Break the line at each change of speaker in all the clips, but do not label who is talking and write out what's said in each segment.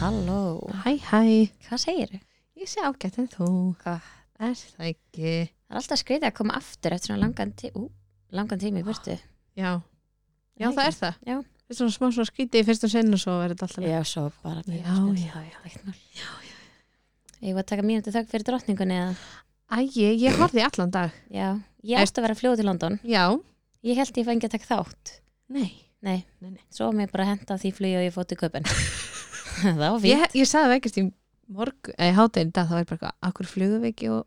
Halló,
Hæ, hæ.
hvað segirðu?
Ég sé ágætt en þú.
Hvað?
Er það ekki?
Það er alltaf skrítið að koma aftur eftir svona langan, tí ú, langan tími í burtu.
Já. Já, það er það.
Já.
Það er svona smá svona skrítið í fyrstu sinn og svo verður þetta alltaf.
Já, svo bara
Já, já, já.
já, já. Ég var að taka mínútu þögg fyrir drottningunni eða,
Æ, ég, ég horfði í allan dag.
já, ég ætti að vera að fljóð til London.
Já.
Ég held ég fengi að taka þátt.
Nei.
Nei,
Nei, nei.
svo var mér bara henda því flugi og ég fótt í köpun. það var fínt.
Ég, ég sagði það ekkert í morgu, eða háteginn dag, það var bara eitthvað, akkur flugum við ekki og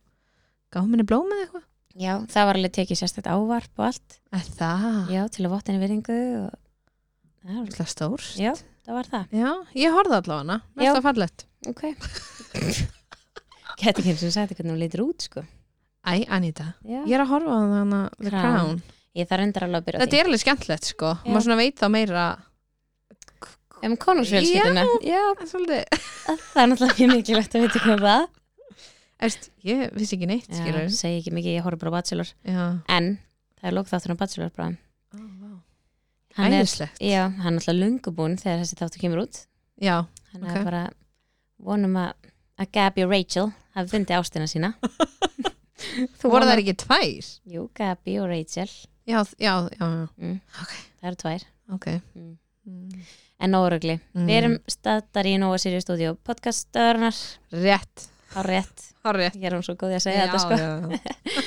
gáðum henni blóm eða eitthvað.
Já, það var alveg tekið sérstætt ávarp og allt.
Er það?
Já, til að votta henni virðingu og... Já,
Alltaf stórs.
Já, það var það.
Já, ég horfði allavega hana.
Já.
Mesta fallett.
Ok. Gæti ekki eins og sagt hvernig hún lítur út, sko.
Æ, Anita.
Já.
Ég er að horfa á hana The
Crown.
Crown.
Ég þarf endur alveg að byrja á
Þetta
því.
er alveg skemmtilegt, sko.
Já.
Maður svona veit þá meira
Um konungsfjölskylduna. Já.
svolítið.
það er náttúrulega mjög mikilvægt að veitum hvað það.
Erst, ég vissi ekki neitt,
Já,
skilur.
segi ekki mikið, ég horf bara á Bachelor.
Já.
En það er lókþáttur á Bachelor bara.
Oh, wow.
Hann er-
Æðislegt.
Já, hann er náttúrulega lungubún þegar þessi þáttur kemur út.
Já,
Hann
Ok.
er bara vonum að, að Gabi og Rachel hafi fundið ástina sína. Þú
voru það ekki tvær?
Jú, Gabi og Rachel.
Já, þ- já, já, já.
Mm.
Ok.
Það eru tvær.
ok.
Mm.
Mm.
En nógrugli. Við erum staðar í Nóa Sirius Studio podcastöðurnar,
Rétt,
á rétt,
horrið.
ég er hún svo góð í að segja þetta sko.
já, já.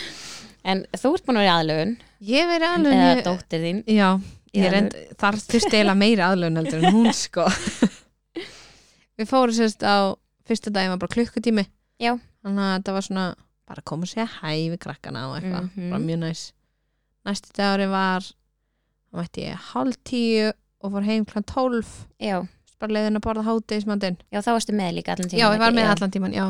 En þú ert búin að vera í aðlögun,
Ég verið alveg...
eða dóttir þín.
Já,
Í
ég reynd, þar þurfti eiginlega meira aðlun heldur en hún, sko. Við fórum sérst á fyrsta daginn var bara klukkutími.
Já.
Þannig að þetta var svona bara að koma og segja hæ við krakkana og eitthvað.
Mhm.
Bara mjög næs. Næsti dagur var, þá mætti ég hálf tíu og fór heim klant tólf.
Já,
Bara leiðin að borða hátegismandinn.
já, þá varstu með líka allan tíma.
Já, ég var með allan tíman, já.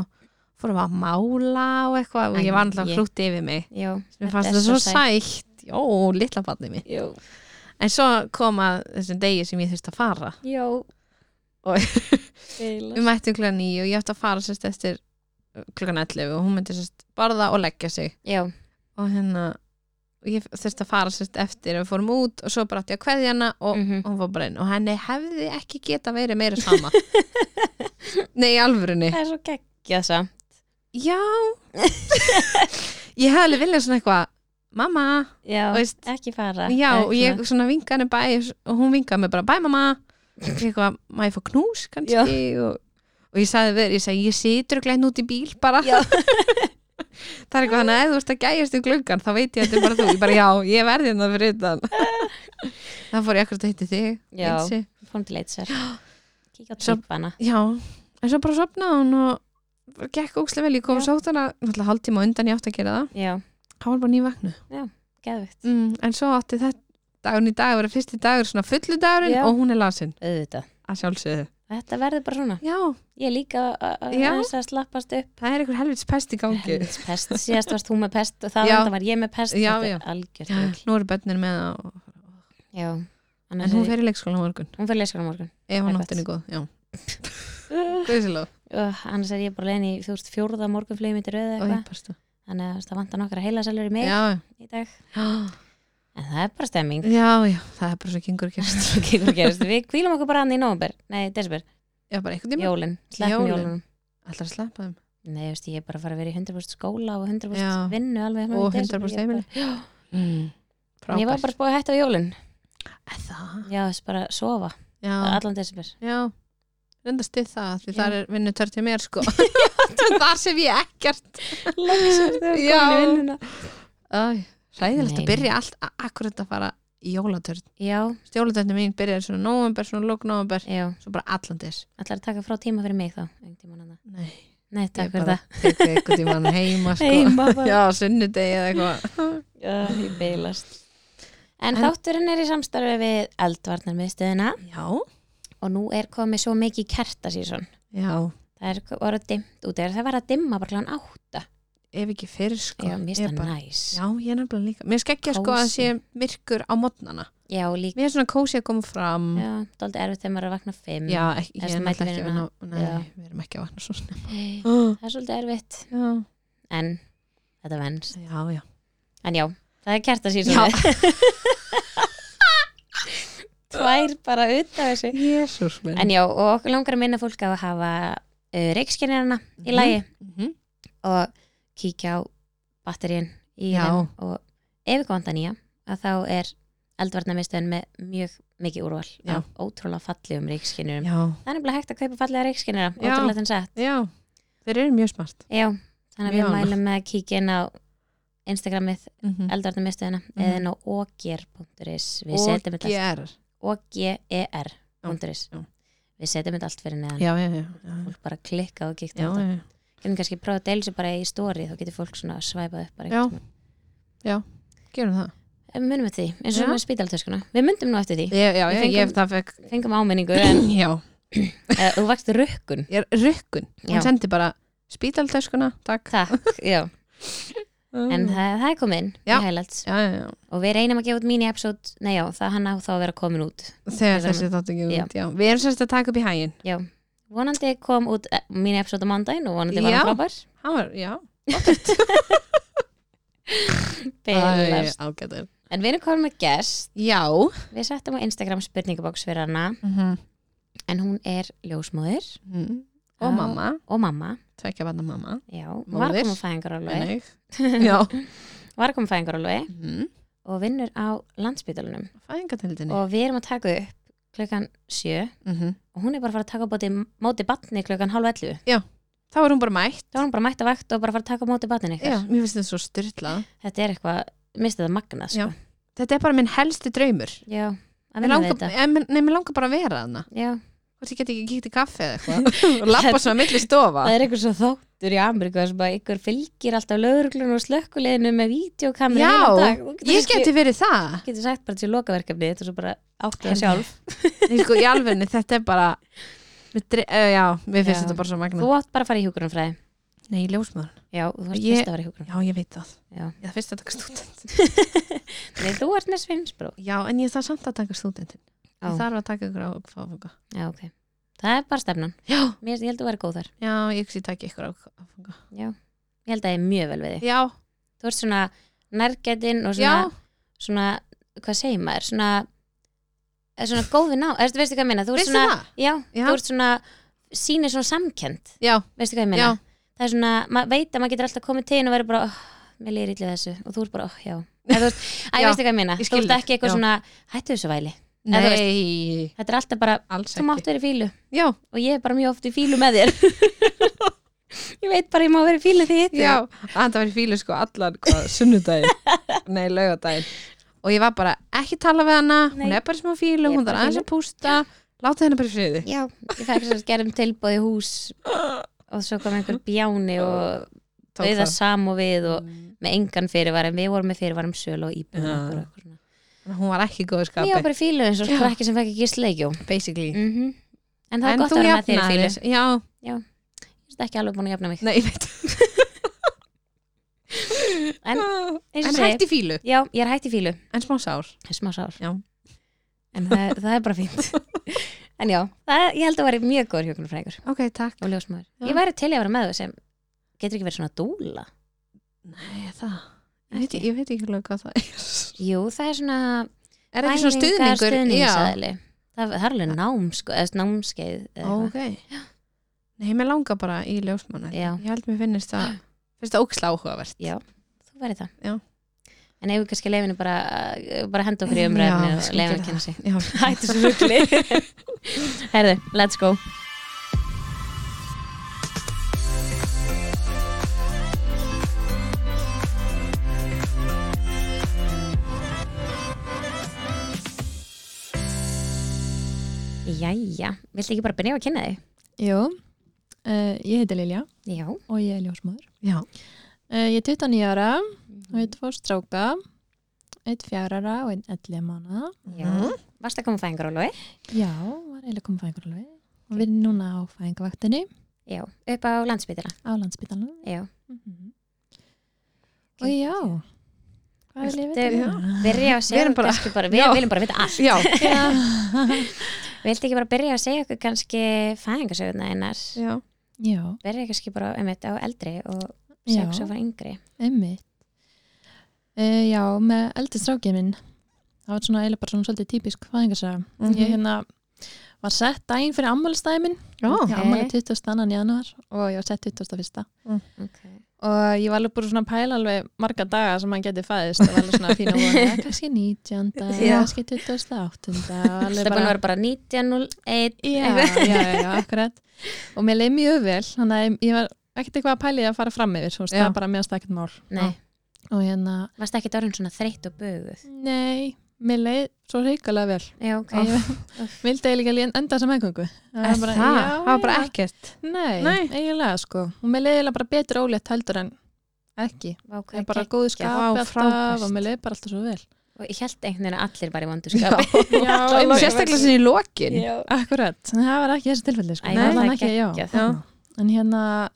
Fórum að mála og eitthvað og
Æ,
ég var alltaf
ég-
hrútti yfir mig.
Já,
Mér fannst
er
þetta svo
sætt.
sætt. Jó, litla barnið mitt.
Já,
En svo kom að þessum degi sem ég þurfti að fara.
já.
Og-
Eiginlega.
við mættum klukkan 9 og ég ætti að fara sérst eftir uh, klukkan 11 og hún myndi sérst borða og leggja sig
Já,
og hérna og ég þurfti að fara sérst eftir og við fórum út og svo bara átti ég að kveðja hana og,
Mhm.
og hún fór bara inn og henni hefði ekki geta verið meira sama nei, í alvörunni
það er svo geggjað samt.
já ég hefði alveg viljað svona eitthvað mamma,
Já,
Þú veist-
ekki fara.
já,
Eða
og ég
svona-
svona vinga henni bæ og hún vingaði mig bara bæ mamma og ég eitthvað, má ég fá knús kannski og, og ég sagði við, þér, ég sagði, ég situr og glæn út í bíl bara
Já,
það er eitthvað þannig að ef þú ert að gæjast í gluggan þá veit ég að þetta er bara þú, ég bara já, ég verði hérna fyrir utan það fór ég akkurat að hitti þig
Já.
Lindsay.
fórum til leitt sér. Kíkja á
Svo-
trippana.
já, en svo bara sopnaði hún og bara gekk ókslega vel, ég kom
Já.
og sátt hana náttúrulega hálftíma á undan ég átti að gera það
Já,
hann var bara nývagnu
geðvikt.
mm, en svo átti þetta dagurinn í dag að vera fyrsti dagur, svona fullu dagurinn
Já.
og hún er lasin,
Auðvitað.
að sjálfsögðu
Þetta verður bara svona.
já,
Ég er líka að- að
Já.
aðeins að slappast upp.
það er einhver helvits pest í gangi
Helvítis pest, síðast varst þú með pest og það
Já.
var ég með pest
Já,
þetta
já.
er algjört rugl.
nú eru börnir með það og-
já. annars
en hún
er-
fer í leikskólan á morgun
hún fyrir leyskur á morgun
ef
Það
hann
er
áttin er góð, já Guðsiló,
uh, annars er ég bara leiðin í þú veist fjórða morgunflugum í röðu
og ég
eitthvað
pastu
þannig að þú veist, það vantar nokkra heila selur í mig
Já,
í dag
já
en það er bara stemming
Já, já, það er bara svo kingur og gerst
Svo gengur og gerist. við kvílum okkur bara hann í nómber nei, desber,
Já, bara einhvern tíma
jólin, sleppum
Jólin.
jólin
Ætlar að sleppa þeim
nei, þú veist, ég er bara að fara að vera í 100% skóla og 100%
Já.
vinnu alveg fram í
Og
desember.
100%
Ég er bara-
heimili mm.
En ég var bara spóið hægt á jólin
Eða það?
já, þess bara að sofa
Já,
allan desber
já Reynda stið það, því
Já.
þar er vinnu törtið mér sko Þar sem ég ekkert
Loksins, þau eru
Já.
komin í vinnuna.
Æ,
Nei,
Ræðilegt
nei.
að byrja allt a- akkurat að fara í jólatörn
já,
Stjólatörnum mín byrjaði svona nóvember, svona lók nóvember
já
Svo bara allandis
ætlar að taka frá tíma fyrir mig þá einhvern tímann annað.
Nei,
Nei, takk
ég
fyrir
bara
það
tek einhvern tímann heima sko
Heima bara.
Já, sunnudegi eða eitthvað
Já, ég beilast En,
En-
þátturinn er í samstarfi við eldvarnar
Já,
og nú er komið svo mikið kertasíson
já,
Það er voru dimmt út eða það var að dimma bara kláðan átta
ef ekki fyrir sko
Já, mér
Ég
finnst
bara-
það næs Já,
Já, ég er nefnilega líka. Mér skekkja sko að
Kósí.
sé myrkur á mótnana.
líka
Mér er svona kósi að koma fram.
Já, dóldi erfitt þegar maður er að vakna fimm
Mm. Já, ekki,
Ertu
ég er
mætt
náttúrulega ekki að
vinnuna?
vinna. Nei,
Já.
við erum ekki að vakna svo snemma.
Hey, Það er svolítið erfitt
Já,
En þetta venst
já, já.
En já, það er kertasíson
Já.
tvær bara utan þessu
Jésús minn
en já, og okkur langar að minna fólk á að hafa uh, reikskennirana í lagi
Mhm.
og kíkja á batteríin í
Já.
þeim og ef ekki vantar nýja að þá er eldvarnarmistöðin með mjög mikið úrval
Já.
af ótrúlega fallegum reikskinurum
Já,
það er nefnilega hægt að kaupa fallega reikskinnura
Já.
ótrúlega þann sett
já, þeir eru mjög smart
Já, þannig að
Mjög
við
annað.
mælum með að kíkja inn á Instagramið
Mhm.
eldvarnarmistöðina
Mhm.
eða inn á ogr.is við setjum þetta
OGR.
ogr.is
Já.
við setjum þetta allt fyrir neðan
Já, já, já, já,
fólk bara klikka og kíkta
já,
á þetta
já.
getum kannski prófað að deilsa bara í story þá getur fólk svona svæpað upp bara
Já.
einhvern tímann.
gerum það
En munum eftir því, eins og
Já.
með spítaltöskuna við myndum nú eftir því,
Já, já,
Við
já,
fengum-
ég hef það fekk
fengum áminningu en
Já,
uh, þú vakst rukkun
ég er rukkun
Já.
Hún sendi bara spítaltöskuna, takk
takk, já, en það,
Já,
það er komin
Já.
í highlights
já, já,
og við reynum að gefa út mini-episode, nei já, það hann á þá að vera komin út,
þegar
Við
þessi þáttu ekki
Já.
út já. Við erum sérst að taka upp í hægin
já vonandi kom út eh, mini-episode á mandaginn og vonandi var
Já.
hann frábær
Hann var, já,
Bilast.
ágættur
en við erum komin með gest
Já
við settum á Instagram spurningaboks fyrir hana en hún er ljósmóðir
Mm. Og
Já.
mamma,
og mamma,
tvekja barna mamma
já, hún var
Móðir.
komið fæðingar alveg
Einnig. Já
var komið fæðingar alveg
mm.
og vinnur á landsbytalunum
Fæðingatildinni
og við erum að taka upp klukkan 7
mm -hmm.
og hún er bara að fara að taka upp á móti, móti batni klukkan halv 11
Þá er hún bara mætt
þá er hún bara mætt að vakt og bara að fara að taka á móti batni
Já,
ykkar
mér finnst þetta svo styrlað
þetta er eitthvað, misti þetta magna sko.
Þetta er bara minn helsti draumur
já. að
Mér
vinna við
langar,
þetta
en, nei, mér langar bara að vera þarna
já.
Hvort ég get ekki kíkt í kaffi eða eitthvað og lappa svona milli stofa
það er eitthvað svo þóttur í Ameríku þar sem að ykkur fylgir alltaf lögurglun og slökkuleginu með vídeokameru
Já,
heilan dag. Þú
Ég
kannski-
geti verið það
getur sagt bara til lokaverkefni þetta er svo bara áttu það sjálf
Nei, sko, í alvegni, þetta er bara mér dre- eh, Já, mér finnst
Já.
þetta bara svo magna
þú átt bara að fara í hjúkurumfræði
Nei, ljósmaður
já, þú varst
Ég-
fyrst að fara í hjúkurumfræði
Já, ég veit það
Já.
Ég það fyrst að taka stúdent
Nei, þú ert með svinsbró
Já, en ég þarf samt að taka stúdentin Ég þarf að taka ykkur á áfanga
Já, ok. Það er bara stefnan.
Já,
Mér, ég held að þú væri góð þar.
já, ég ekki taka ykkur á áfanga
Já. Ég held að það er mjög vel við þig.
Já,
Þú ert svona nærgætin og
já,
svona, svona hvað segir maður, svona, er svona góð við ná. Er, veistu hvað ég meina? Þú ert
veistu
svona,
það?
já,
Já.
þú ert svona, sýnir svona samkend.
Já,
Veistu hvað ég meina?
já,
Það er svona, maður veit að maður getur alltaf komið til þín og verið bara, oh, mér lýr illið þessu og þú ert bara, oh, já. Eða, þú veist, æ,
Já.
veistu hvað ég meina?
Ég
Þú
skil
ert
þig.
ekki eitthvað
Já.
svona, hættu þessu væli. Eða þú veist-
nei
Þetta er alltaf bara,
Alls
þú mátt
ekki
verið fílu.
Já,
og ég er bara mjög oft í fílu með þér ég veit bara ég má vera í fílu því hittu
já, það var í fílu sko allan hvað, sunnudaginn Nei, laugardaginn Og ég var bara ekki tala við hana Hún
Nei.
er bara smá
Ég
fílu,
er
hún
bara í
þarf aðeins
fýlu.
að pústa Láta hennar bara í friði
já, ég fæk þess að gerum tilbúið hús og svo kom einhver bjáni og
Tók
auða
það. Mm.
sam og við og með engan fyrirvara en við vorum með fyrirvara um sölu og íbúin
Já.
okkur og okkur svona.
Þannig að Hún var ekki í góðu
ég var
skapi
bara í fílu eins og
Já.
krakki sem fekk ekki sleikjó
Basically
mm en það er gott að vera með þér í fílu
þess Já,
ég er ekki alveg búin að jafna mig
nei, ég veit
En- Eins og
en
ég segi,
hægt í fílu
já, ég er hætt í fílu
En smá sár
smá sár
Já.
en það, það er bara fínt en já, það, ég held að vera mjög góður hjókunarfræðingur
Ok, takk
og ljósmaður.
Já.
Ég væri til í að vera með þau sem getur ekki verið svona dúla.
Nei, það Ég veit, ég veit ekki alveg hvað það er
Jú, það er svona
Er ekki svona stuðningur? Já,
stuðningsaðili. Það, það er alveg nám, sko, eða svona námskeið. eða eitthvað.
ok Nei, mér langar bara í ljósmanna
Já.
Ég held mér finnist það Finnst það óksla áhugavert
Já. Þú væri það.
Já.
En ef við kannski leifinu bara, eh, bara henda okkur í umræðinu
Já,
og
skulum
leifinu að
gera
kenna sig.
Já.
Hættu svo rugli. Herðu, let's go. Jæja, viltu ekki bara byrja á að kynna þig?
Jú, uh, ég heiti Lilja
Já.
og ég er ljósmaður.
Já.
Uh, ég er 29 ára
Mhm.
og ég er tvo stráka, eitt fjárara og einn 11 mánuða.
Já. Varst að koma fæðingar á logi?
Já, var eiginlega komið fæðingur alveg og við erum núna á fæðingavaktinni
Já. Upp á landsbytila?
á landsbytalanum.
Já.
Mhm. Og já, hérna? hvað vil ég vita?
Viltu-
meira?
Byrja að segja
erum bara-
kannski bara, við
Já.
viljum bara vita allt.
Já,
Viltu ekki bara byrja að segja okkur kannski fæðingarsöguna einar?
já,
Já,
Byrja kannski bara einmitt á eldri og
já,
segja okkur svo frá yngri.
Eh, einmitt. Uh, já, með eldri strákið minn, það var svona eiginlega bara svona svolítið típisk fæðingarsaga ég hérna var sett daginn fyrir ammælistæði minn
Já,
ég ammæli 22. januar og ég var sett 21.
okay.
og ég var alveg búin svona að pæla alveg marga daga sem maður geti fæðist og var alveg svona fín að vona ja, kannski 19.
Já.
kannski 28. og alveg
Stefán var bara 1901
Já, já, já, já, akkurat og mér leið mjög vel þannig að ég- ég var ekkert eitthvað að pæli að fara fram yfir svo, það
Já.
var bara mjög stakkt mál
Nei,
og hérna,
varst ekki orðin svona þreytt og böguð
nei, mér leið svo reikalega vel
Já, ok
ég vildi eiginlega líka enda sem meðgöngu það
Er það, það var bara
eiginlega-
ekkert
nei,
Nei.
eiginlega sko og mér leið eiginlega bara betur ólétt heldur en ekki
Vá,
ég
hvað
er bara
gegg-
góðu sko,
Vá,
skapi alltaf
frábært.
og mér leið bara alltaf svo vel
Og ég held einhvern veginn að allir bara í
Já,
vondurskapi
já,
sérstaklega sinni í lokin
akkurat, en það var ekki þessi tilfelli sko.
Æ,
það var
það
ekki, já
geggjað.
Já.
en hérna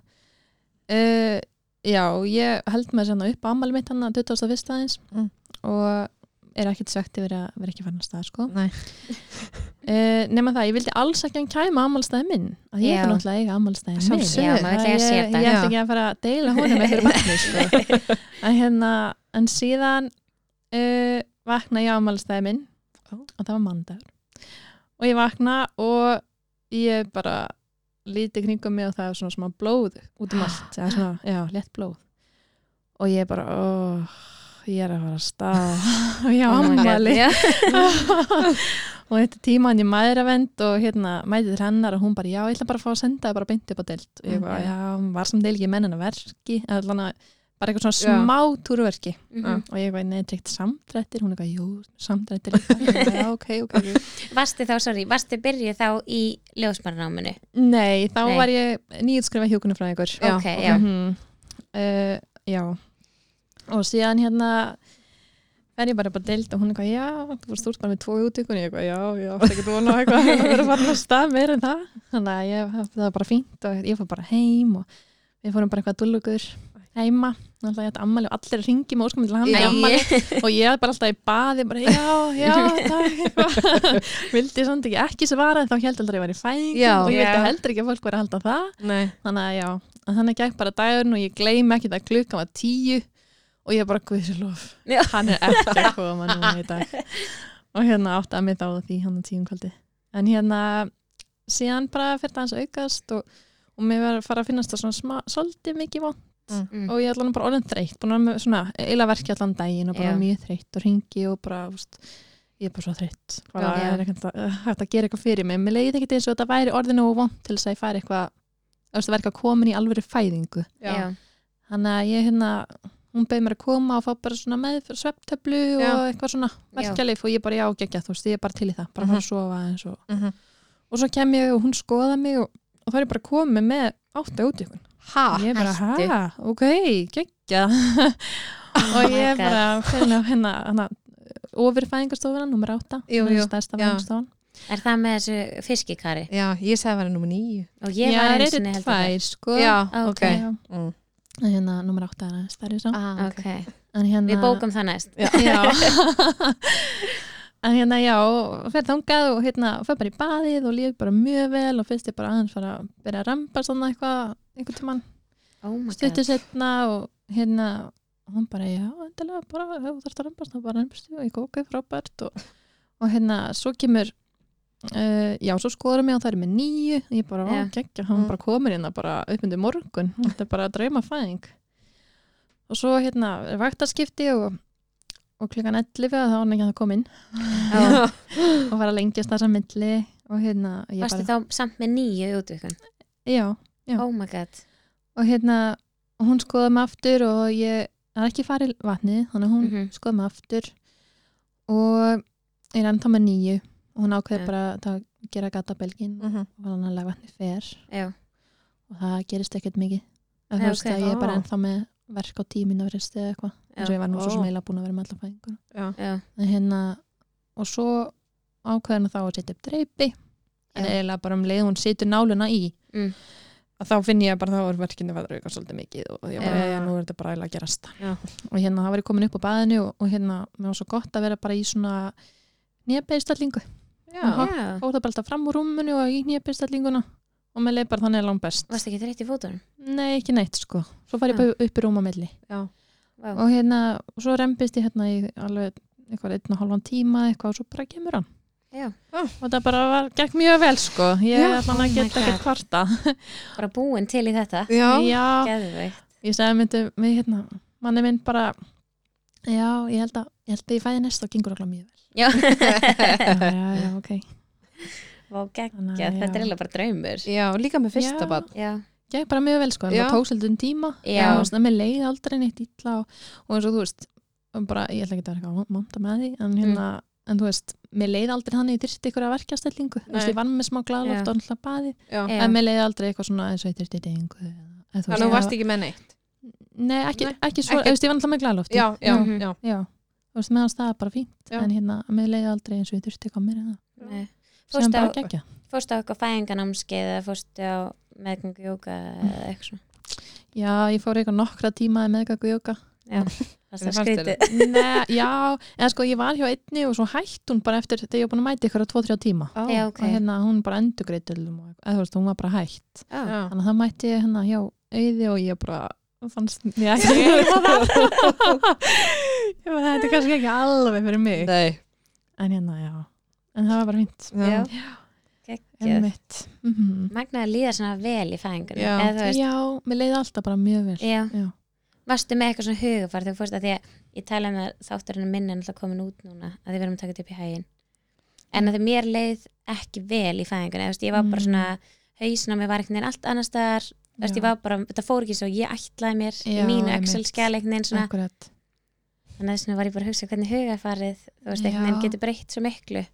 uh, já, ég held mér sérna upp á ammali mitt hérna hann að 21. aðeins
Mm.
og er ekkert svegt yfir að vera ekki farin að stað sko.
Nei.
uh, nema það, ég vildi alls ekki að hann kæma ammalstæði minn að ég
Já.
er náttúrulega eiga ammalstæði minn
Sjálfsögðu.
Já, maður vill eiga
Það
sér
ég,
dag.
ég ætti
Já.
ekki að fara að deila honum eftir vatni sko. en hérna, en síðan uh, vakna ég ámælstæði minn
Ó.
og það var mandagur og ég vakna og ég bara líti kringum mig og það er svona smá blóð út um allt, eða svona, já, létt blóð og ég bara, óh ég er að fara að stað og ég á
Oh my God.
ámæli
Já.
og þetta tímaðan ég mæðravend og hérna mætið hennar og hún bara já, ég ætla bara að fá að senda það bara beint upp á deilt og ég bara,
Mhm.
já, hún var samt deil ekki menn hennar verki eða allan að, bara eitthvað
Já.
svona smá túruverki
Mhm.
og ég bara, nei, tryggt samdrættir hún er eitthvað, jú, samdrættir líka." Ég bara, já, ok, ok, ok
Varstu þá, sorry, varstu byrjuð þá í ljósmarnáminu?
nei, þá
Nei.
var ég nýjutskrifa hjókunum frá ykkur
Já,
ok,
ok.
Mhm.
já
uh, já og síðan hérna er ég bara bara deilt og hún eitthvað já, þú varst úr bara með tvo útíkun ég eitthvað já, já, það getur vona á eitthvað það verður bara að stað meir en það þannig að ég, það var bara fínt og ég fór bara heim og við fórum bara eitthvað dullugur heima Alltaf ég ætti ammali og allir ringi með óskamil hann
Æ.
í ammali og ég var bara alltaf í baði bara já, já, takk eitthvað. vildi samt ekki ekki svara en þá held aldrei að ég var í fæðing
Já.
og ég
Já.
vildi heldur ekki að fólk var að halda það
Nei,
þannig að já, að þannig gekk bara dagurinn og ég gleym ekki það klukkan var tíu og ég bara guðsilof
Já.
hann er ekki að koma núna í dag og hérna átti að mig þá því hann á tíum kvöldi en hérna síðan bara fyrir það hans aukast og, og mér var að fara að finnast það svona smá, svolítið mikið vond
Mm.
og ég er allan bara orðin þreytt búin að vera með svona eila verki allan daginn og bara
Já.
mjög þreytt og ringi og bara úst, ég er bara svo þreytt bara
Já.
er ekkert að, eh, hægt að gera eitthvað fyrir mig mér leiði ekkert eins og þetta væri orðinu og vond til þess að ég færi eitthvað þú veist, að vera eitthvað komin í alvöru fæðingu
Já.
þannig að ég hérna hún beði mér að koma og fá bara svona með fyrir svepptöflu
Já.
og eitthvað svona verkjalið og ég bara já, geggja, þú veist, ég er bara til í það bara að fara að sofa eins og
Mhm.
og svo kem ég og hún skoða mig og, og það er ég bara komið með átta út
ha,
Ah,
ég bara,
hættu.
hæ, ok, geggja og
Oh my
ég
God.
bara fyrir hérna, hérna ofurfæðingarstofuna, nummer átta
Jú,
hún er
jú,
stærsta
já.
fæðingarstofan
Er það með þessu fiskikari?
já, ég sagði að vera nummer nýju
Og
ég
ég var
er
eins og held
eitthvað
að
tvær, sko
það.
ok.
Já.
Mm.
En hérna, nummer átta er aðeins stærri sá
ah,
Ok,
ok.
en hérna,
Við bókum það næst.
já en hérna já, fyrir þangað og hérna fyrir bara í baðið og líður bara mjög vel og fyrst ég bara aðeins fara að byrja að rampa svona eitthvað, einhvern tímann
Oh my
stuttu
god.
setna og hérna og hún bara, já, endilega bara ef þú þarfst að rambast, þá bara rambast og ég kóka frábært og, og hérna, svo kemur uh, já, svo skoður mig og það er með nýju og ég bara,
Já.
ó, geggja, hann
Mm.
bara komur hérna bara upp undir morgun, þetta er bara drauma fæðing og svo hérna er vaktarskipti og og klukkan 11 að þá var hann ekki að það kom inn
Já.
og var að lengjast þessa milli og hérna ég
Varstu
bara,
þá samt með nýju útvikun?
já, Já.
Oh my god.
og hérna og hún skoði mig aftur og ég það er ekki farið vatnið þannig að hún
Mhm.
skoði mig aftur og ég er ennþá með nýju og hún ákveði
Já.
bara að ta- gera gata belgin og
Mhm.
var hann að laga vatnið fer
Já.
og það gerist ekkert mikið en
Nei,
þú veist
ok.
að ég er
Ó.
bara ennþá með verk á tíminu að verið eða eitthvað eins og
Já.
ég var nú svo sem
Ó.
eiginlega búin að vera með alla fæðingur
Já.
en hérna og svo ákveði hann þá að setja upp dreipi en
Já.
eiginlega bara um leið og hún setur náluna í
Mm.
að þá finn ég bara þá er verkinu að auka svolítið mikið og ég bara,
Já.
já, nú er þetta bara eiginlega að gerast
Já.
og hérna þá var ég komin upp á baðinu og, og hérna, mér var svo gott að vera bara í svona nýjabeistallingu
Já.
Já.
fór það bara alltaf fram úr rúmunu og í nýjabeistallinguna og mér leið bara þannig að langt best
Varstu ekki þreytt í fótunum?
nei, ekki neitt sko, svo far ég
Já.
bara upp í rúma milli
Já.
Vá.
og hérna, og svo rempist ég hérna í alveg eitthvað einn og hálfan tíma eitthvað og svo bara kemur hann
Já.
og það bara var, gekk mjög vel sko ég
Já.
ætla hann
Oh
að
my
geta ekkert kvarta
bara búin til í þetta
já,
já,
Geðveikt.
ég segi myndi við hérna, manni minn bara já, ég held að ég held að ég fæði næst og gengur alveg mjög
já,
vel já, já, já, ok
Vá,
Þannig
geggja,
að,
þetta er
já.
eiginlega bara draumur
já, líka með fyrsta
Já.
barn
já,
gekk bara mjög vel sko, en
Já.
það tók svolítið um tíma
Já.
og svona með leið aldrei neitt illa og, og eins og þú veist bara, ég ætla ekki að vera eitthvað monta með því en, hérna,
Mm.
en þú veist, með leið aldrei þannig ég þyrst ykkur að verkjastellingu, þú veist,
Nei.
ég vann með smá
Já.
glaðloft og alltaf baði,
já.
Já.
en með leið aldrei eitthvað svona eins og ég þyrst ykkur
þannig að þú varst ekki með neitt
Nei, ekki,
Nei,
ekki svo,
ekki-
þú veist, ég vann alltaf með glaðloft
já, já,
Mhm.
já,
já, þú veist, meðan það er bara fínt
Já.
en hérna, með leið aldrei eins og ég þyrst ykkur mér en
Nei.
það sem
Fórstu
bara
á,
gegja
fórstu á eitthvað fæðinganámskeið eða fórstu á meðgöngu jóka eða eitthvað svona
Já, ég fór eitthvað nokkra tíma með eitthvað jóka
það er
Hvernig fannst þér
skrítið
Nei, já, eða sko ég var hjá einni og svo hætti hún bara eftir þegar ég var búin að mæta ykkur á 2-3 tíma
Ó,
Já, Ah, ok.
og hérna hún bara endugreitilum og eða þú veist, hún var bara hætt
Já.
já.
þannig að það mætti ég hérna hjá auði og ég bara fannst ég ekki eiga það ég bara þetta er kannski ekki alveg fyrir mig
Nei,
en hérna, já, en það var bara fínt
Já.
já.
Geggjað.
en mitt mm
Magnaði að líða svona vel í fæðingunum
Já.
eða þú veist,
Já, mér leiði alltaf bara mjög vel
já.
Já.
Varstu með eitthvað svona hugafar þegar þú fórst að því að ég tala um að þátturinn minn er alltaf komin út núna að því við erum að taka þetta upp í hægin en að því mér leið ekki vel í fæðingunum veist, ég var bara
Mm.
svona hausna mér var einhvern veginn allt annars staðar Þú veist, ég var bara, þetta fór ekki svo, ég ætlaði mér í
Já,
mínu
einmitt.
Excel-skjæl einhvern veginn svona
Akkurat.
þannig að þess vegna var ég bara að hugsa hvernig hugafarið þú veist, einhvern veginn
Já.
getur breytt svo miklu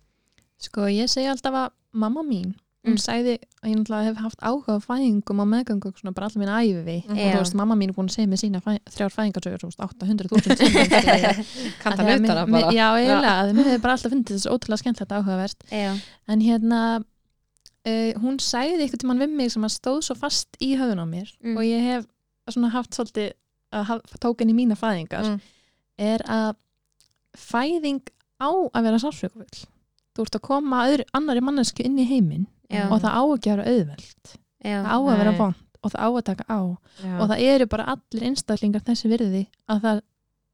Sko, ég segi alltaf að mamma mín, hún
Mm.
sagði að ég náttúrulega hef haft áhuga á fæðingum og meðgöngu og svona bara allir minna æfi
Mhm.
og
Já.
þú veist, mamma mín er búin að segja mér sína fæ, þrjár fæðingarsögur, þú veist, 800.000 sinnum, skilur við. Af því
kanta
að mér-
nautara
mér-
bara
Já, eiginlega, að mér hefur bara alltaf fundið þessu ótrúlega skemmtilegt áhugavert
já,
en hérna uh, hún sagði eitthvað tímann við mig sem að stóð svo fast í höfðun á mér
Mm.
og ég hef svona haft svolítið að haf, tókin í mína fæðingar
Mm.
er að fæðing á að vera sársökuvill þú ert að koma öðru, annari mannesku inn í heiminn
já,
og það á að gera auðvelt
já,
það á að vera
Mm. Nei. Mm.
vond og það á að taka á
Já.
og það eru bara allir einstaklingar þessi virði að það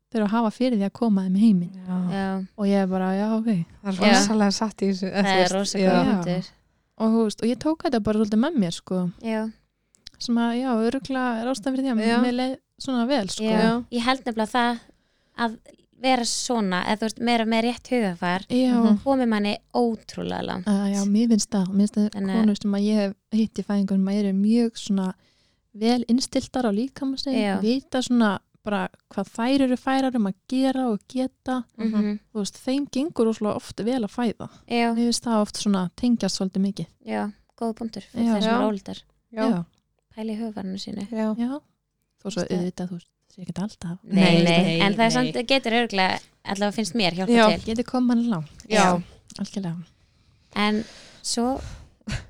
þurfa að hafa fyrir því að koma þeim í heiminn
Já.
já,
og ég er bara, já, ok
Það er
Já.
rosalega satt í þessu eða
það
þú
er
veist,
rosa
já.
góð
Já.
hundur
og, þú veist, og ég tók þetta bara svolítið með mér sko.
já,
sem að, já, örugla er ástæðan fyrir því að
Já.
mér leið svona vel, sko.
já.
Já.
ég held nefnilega það að vera svona, eða þú veist, meira með rétt hugafar
Já,
Mhm.
komið manni ótrúlega langt
að, Ah, já mér finnst það, mér finnst það
En, eh,
konur sem að ég hef hitt í fæðingunum að eru mjög svona vel innstiltar á líkama
Já.
sig, vita svona bara hvað þær eru færar um að gera og geta,
mm
þú veist, þeim gengur óslega oft vel að fæða.
já,
Mér finnst það oft svona tengjast svolítið mikið.
já, góð punktur
Já.
fyrir það sem
Já.
er óldar
Já.
já.
pæli hugafarinu sínu
Já.
já. Þó svo
Finnst það-
auðvitað, þú veist, það er ekkert alltaf.
nei, nei,
nei,
en það er
nei.
samt getur örgulega allavega finnst mér hjálpa
Já.
til
Getið koma hann langt,
Já.
algjörlega.
en svo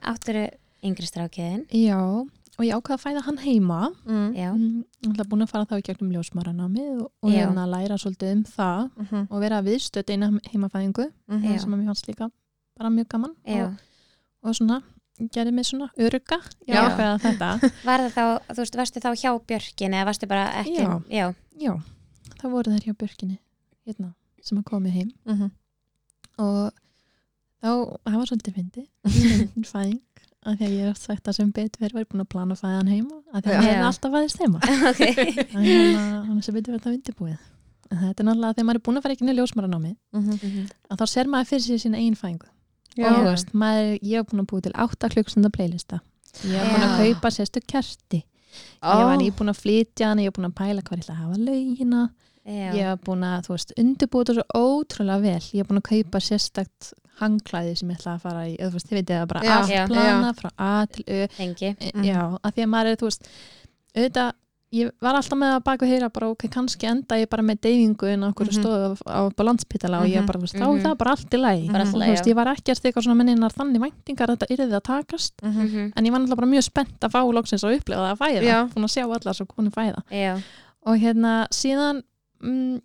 átturu yngri strákiðin
Já, og ég ákvaða að fæða hann heima.
Mm.
já,
Mm, Það er búin að fara þá í gegnum ljósmaranámið og, og
Já.
hérna læra svolítið um það
Mhm.
og vera viðstödd eina heimafæðingu
Mhm.
Já.
sem að mér fannst líka bara mjög gaman
já
og, og svona, gerði mig svona örugga, ég
Já.
ákvaða þetta
Var það þá, þú veist, varstu þá hjá Björkin eða varstu bara ekki?
Já.
já.
Já, það voru þær hjá Björkinni hérna, sem að komið heim
Mhm.
og þá, það var svolítið fyndi fyndin fæðing, af því að ég er oft sagt að sem betur verið var ég búin að plana að fæða hann heima af því að
Já.
hann hefði alltaf fæðist heima
ok.
En hérna, hann sem veitur verið það undirbúið. En þetta er náttúrulega þegar maður er búin að fara ekki niður ljósmaranámi
Mhm.
að þá ser maður fyrir sér sína eigin fæðingu.
Já.
Og þú veist, maður, ég hef búin að búið til 8 klukkstunda playlista. Ég hef búin að
Já.
kaupa sérstu kerti. Ég var nýbúin að flytja hann, ég hef búin að pæla hvað ég ætla að hafa laugina.
Já.
Ég hef búin að, þú veist, undirbúið þetta svo ótrúlega vel. Ég hef búin að kaupa sérstakt hangklæði sem ég ætla að fara í, eða þú veist, þið veitir það bara
Já.
allt
Já.
plana frá A til Ö
Tengi.
Mhm.
já, að því að maður er, þú veist auðvitað, ég var alltaf með að baka og heyra bara, ok, kannski enda ég bara með deyfingu en okkur mm
Mhm.
stóðu á, á landspítala og ég
Mhm,
bara, þú veist, þá
mhm.
er það bara allt í lagi
Bara
Mhm.
alltaf,
þú veist,
já.
ég var ekkert eitthvað svona minninar þannig væntingar að þetta yrði að takast
Mhm.
Mhm.
en ég var náttúrulega bara mjög spennt að fá loksins og upplega það að fæða,
Já.
búin að sjá allar svo konu fæða
Já.
og hérna, síðan mm,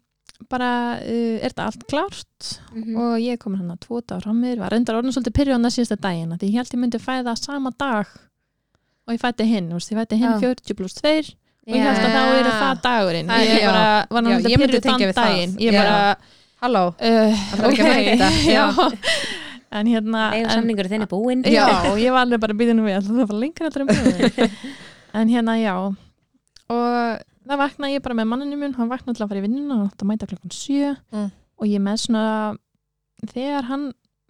bara, uh, er þetta allt klárt
Mm.
Mhm.
og ég kom hann að tvo dagar á mér, var reyndar orðin svolítið pyrjóna síðasta daginn, af því ég held ég myndi fæða sama dag og ég fætti hinn, þú veist, ég fætti hinn
Já.
40 pluss 2 og ég
Já.
held að þá eru það dagurinn
Það er-
ég bara, var
Já,
náttúrulega
ég myndi
pyrruð
tengja
þann
við það.
daginn ég
Já.
bara,
Halló,
uh,
það þarf ekki að mæta
já.
Já,
en hérna
Leiðu
en,
samningur þinn er búinn
já, og ég var alveg bara býðin við alltaf það var lengra allra um búin en hérna, já og það vaknaði ég bara með manninu mun hann vaknaði til að fara í vinnuna, hann átti að mæta klokkan sjö
Mm.
og ég með svona þegar hann